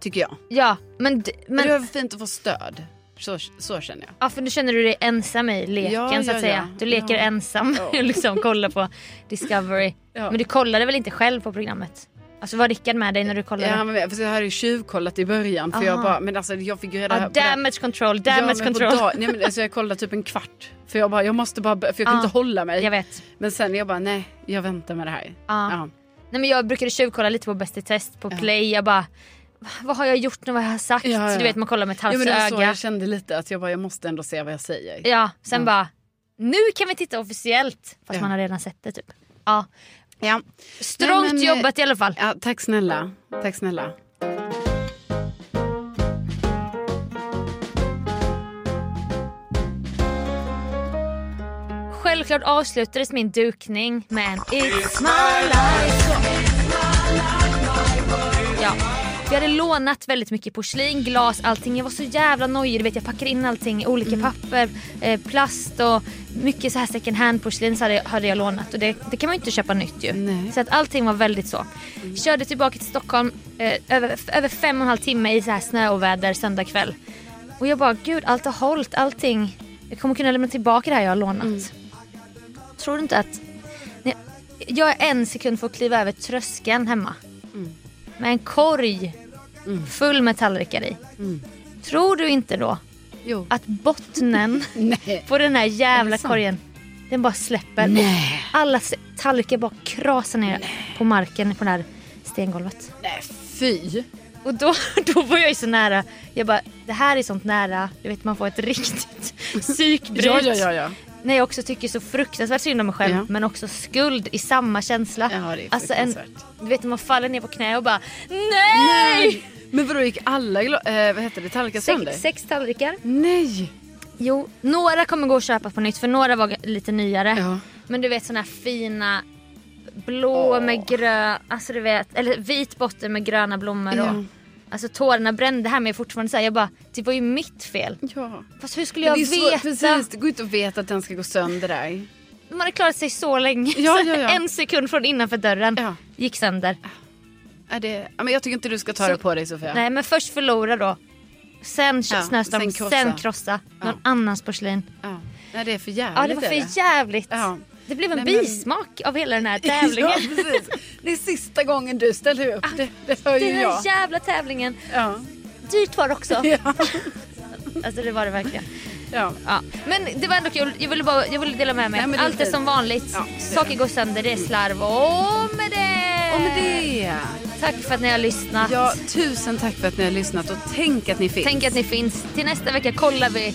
[SPEAKER 2] Tycker jag.
[SPEAKER 1] ja. Men, d-
[SPEAKER 2] Men... Det
[SPEAKER 1] men
[SPEAKER 2] är fint att få stöd. Så, så känner jag.
[SPEAKER 1] ja, för nu känner du dig ensam i leken
[SPEAKER 2] Ja,
[SPEAKER 1] så att
[SPEAKER 2] ja,
[SPEAKER 1] säga.
[SPEAKER 2] ja.
[SPEAKER 1] Du leker
[SPEAKER 2] Ja.
[SPEAKER 1] ensam
[SPEAKER 2] Ja.
[SPEAKER 1] och liksom kollar på Discovery.
[SPEAKER 2] Ja.
[SPEAKER 1] Men du kollade väl inte själv på programmet? Alltså var Rickard med dig när du
[SPEAKER 2] Ja,
[SPEAKER 1] kollade?
[SPEAKER 2] han var med. För jag hade ju tjuvkollat i början. För jag
[SPEAKER 1] Aha.
[SPEAKER 2] bara, men alltså jag fick ju reda
[SPEAKER 1] ja,
[SPEAKER 2] på det här-
[SPEAKER 1] damage control, damage
[SPEAKER 2] men på
[SPEAKER 1] control.
[SPEAKER 2] dag- nej, men, alltså, jag kollade typ en kvart. För jag bara, jag måste bara, för jag kunde
[SPEAKER 1] Ja.
[SPEAKER 2] inte hålla mig.
[SPEAKER 1] Jag vet.
[SPEAKER 2] Men sen jag bara, nej jag väntar med det här.
[SPEAKER 1] Ja.
[SPEAKER 2] Ja.
[SPEAKER 1] Nej, men jag brukade tjuvkolla lite på Bäst i test på play. Jag bara, vad har jag gjort nu, vad har jag sagt?
[SPEAKER 2] Ja, ja,
[SPEAKER 1] Du
[SPEAKER 2] ja.
[SPEAKER 1] vet man kollar med ett
[SPEAKER 2] Ja,
[SPEAKER 1] halvt
[SPEAKER 2] men det var så
[SPEAKER 1] öga.
[SPEAKER 2] jag kände lite att jag bara, jag måste ändå se vad jag säger.
[SPEAKER 1] Ja, sen
[SPEAKER 2] Mm.
[SPEAKER 1] bara, nu kan vi titta officiellt. Fast
[SPEAKER 2] Ja.
[SPEAKER 1] man har redan sett det typ. Ja.
[SPEAKER 2] Ja.
[SPEAKER 1] Strongt
[SPEAKER 2] Nej, men, eh,
[SPEAKER 1] jobbat i alla fall.
[SPEAKER 2] Ja, tack snälla. Tack snälla.
[SPEAKER 1] Självklart avslutades min dukning med en It's my life Ja, vi hade lånat väldigt mycket porslin, glas, allting. Jag var så jävla nojig. Du vet, jag packade in allting i olika papper, eh, plast och mycket så här second hand porslin så hade, hade jag lånat. Och det, det kan man ju inte köpa nytt ju.
[SPEAKER 2] Nej.
[SPEAKER 1] Så att allting var väldigt så. Körde tillbaka till Stockholm eh, över, f- över fem och en halv timme i så här snö och väder söndag kväll. Och jag bara, gud allt har hållit, allting. Jag kommer kunna lämna tillbaka det här jag har lånat. Tror du inte att... Nej, Jag är en sekund för att kliva över tröskeln hemma. Mm. Med en korg full med tallrikar i. Tror du inte då
[SPEAKER 2] Jo.
[SPEAKER 1] att bottnen
[SPEAKER 2] Ah, Nej.
[SPEAKER 1] på den här
[SPEAKER 2] Är
[SPEAKER 1] jävla
[SPEAKER 2] det sant?
[SPEAKER 1] korgen, den bara släpper. Alla s- tallrikar bara krasar ner på marken på det här stengolvet.
[SPEAKER 2] Nej, fy.
[SPEAKER 1] Och då, då var jag ju så nära. Jag bara, det här är sånt nära. Du vet man får ett riktigt psykbryt.
[SPEAKER 2] Ja, ja, ja, ja.
[SPEAKER 1] När jag också tycker så fruktansvärt synd om mig själv
[SPEAKER 2] Ja.
[SPEAKER 1] men också skuld i samma känsla.
[SPEAKER 2] Ja, det är
[SPEAKER 1] alltså en,
[SPEAKER 2] fruktansvärt.
[SPEAKER 1] du vet man faller ner på knä och bara NEJ!
[SPEAKER 2] Men vadå, gick alla gla- eh, vad heter det, tallrikar sönder?
[SPEAKER 1] Sex, sex tallrikar.
[SPEAKER 2] Nej.
[SPEAKER 1] Jo, några kommer gå och köpa på nytt för några var g- lite nyare.
[SPEAKER 2] Ja.
[SPEAKER 1] Men du vet såna här fina blå med grön, alltså du vet, eller vit botten med gröna blommor och
[SPEAKER 2] Ja.
[SPEAKER 1] Alltså tårarna brände här men jag är fortfarande såhär, jag bara det var ju mitt fel.
[SPEAKER 2] ja.
[SPEAKER 1] Fast hur skulle
[SPEAKER 2] Men
[SPEAKER 1] jag
[SPEAKER 2] det är
[SPEAKER 1] veta?
[SPEAKER 2] så, precis, det går inte att veta att den ska gå sönder där.
[SPEAKER 1] Man har klarat sig så länge.
[SPEAKER 2] Ja, ja, ja.
[SPEAKER 1] en sekund från innanför dörren
[SPEAKER 2] Ja.
[SPEAKER 1] gick sönder.
[SPEAKER 2] Är det, ja, men jag tycker inte du ska ta
[SPEAKER 1] Så-
[SPEAKER 2] det på dig Sofia.
[SPEAKER 1] Nej men först förlora då. Sen
[SPEAKER 2] Ja,
[SPEAKER 1] ja, snöstorm, sen krossa,
[SPEAKER 2] sen krossa.
[SPEAKER 1] någon annans porslin.
[SPEAKER 2] Ja. Nej, det är för jävligt.
[SPEAKER 1] Ja det var
[SPEAKER 2] är
[SPEAKER 1] för jävligt.
[SPEAKER 2] Ja.
[SPEAKER 1] Det blev en
[SPEAKER 2] Nej, men-
[SPEAKER 1] bismak av hela den här tävlingen.
[SPEAKER 2] Ja, precis. Det är sista gången du ställer upp. Det, Ah. det hör ju
[SPEAKER 1] Den här
[SPEAKER 2] jag.
[SPEAKER 1] jävla tävlingen.
[SPEAKER 2] Ja.
[SPEAKER 1] Dyrt var det också.
[SPEAKER 2] Ja.
[SPEAKER 1] Alltså det var det verkligen.
[SPEAKER 2] Ja.
[SPEAKER 1] Ja. Men det var ändå kul. Jag ville, bara, jag ville dela med mig.
[SPEAKER 2] Nej, men det är
[SPEAKER 1] Allt är
[SPEAKER 2] fint.
[SPEAKER 1] som vanligt.
[SPEAKER 2] Ja, det är
[SPEAKER 1] Saker går sönder, det är slarv. Och med det!
[SPEAKER 2] Och med det.
[SPEAKER 1] Tack för att ni har lyssnat.
[SPEAKER 2] Ja, tusen tack för att ni har lyssnat och tänk att ni finns.
[SPEAKER 1] Tänk att ni finns. Till nästa vecka kollar vi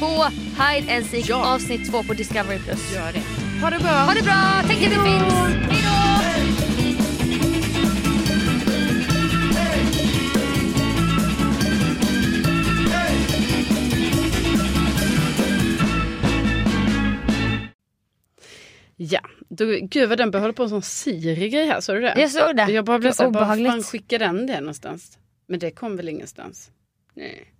[SPEAKER 1] på Hide and Seek
[SPEAKER 2] Ja.
[SPEAKER 1] avsnitt 2 på Discovery+. Plus.
[SPEAKER 2] Gör det. Ha det bra.
[SPEAKER 1] Ha det bra! Tänk att ni finns! Hej då!
[SPEAKER 2] Ja, du, gud vad den börjar hålla på med en sån Siri-grej här, såg du det?
[SPEAKER 1] Jag såg det.
[SPEAKER 2] Jag bara blev
[SPEAKER 1] Det var
[SPEAKER 2] såhär, var fan
[SPEAKER 1] obehagligt.
[SPEAKER 2] skickar den det någonstans? Men det kom väl ingenstans? Nej.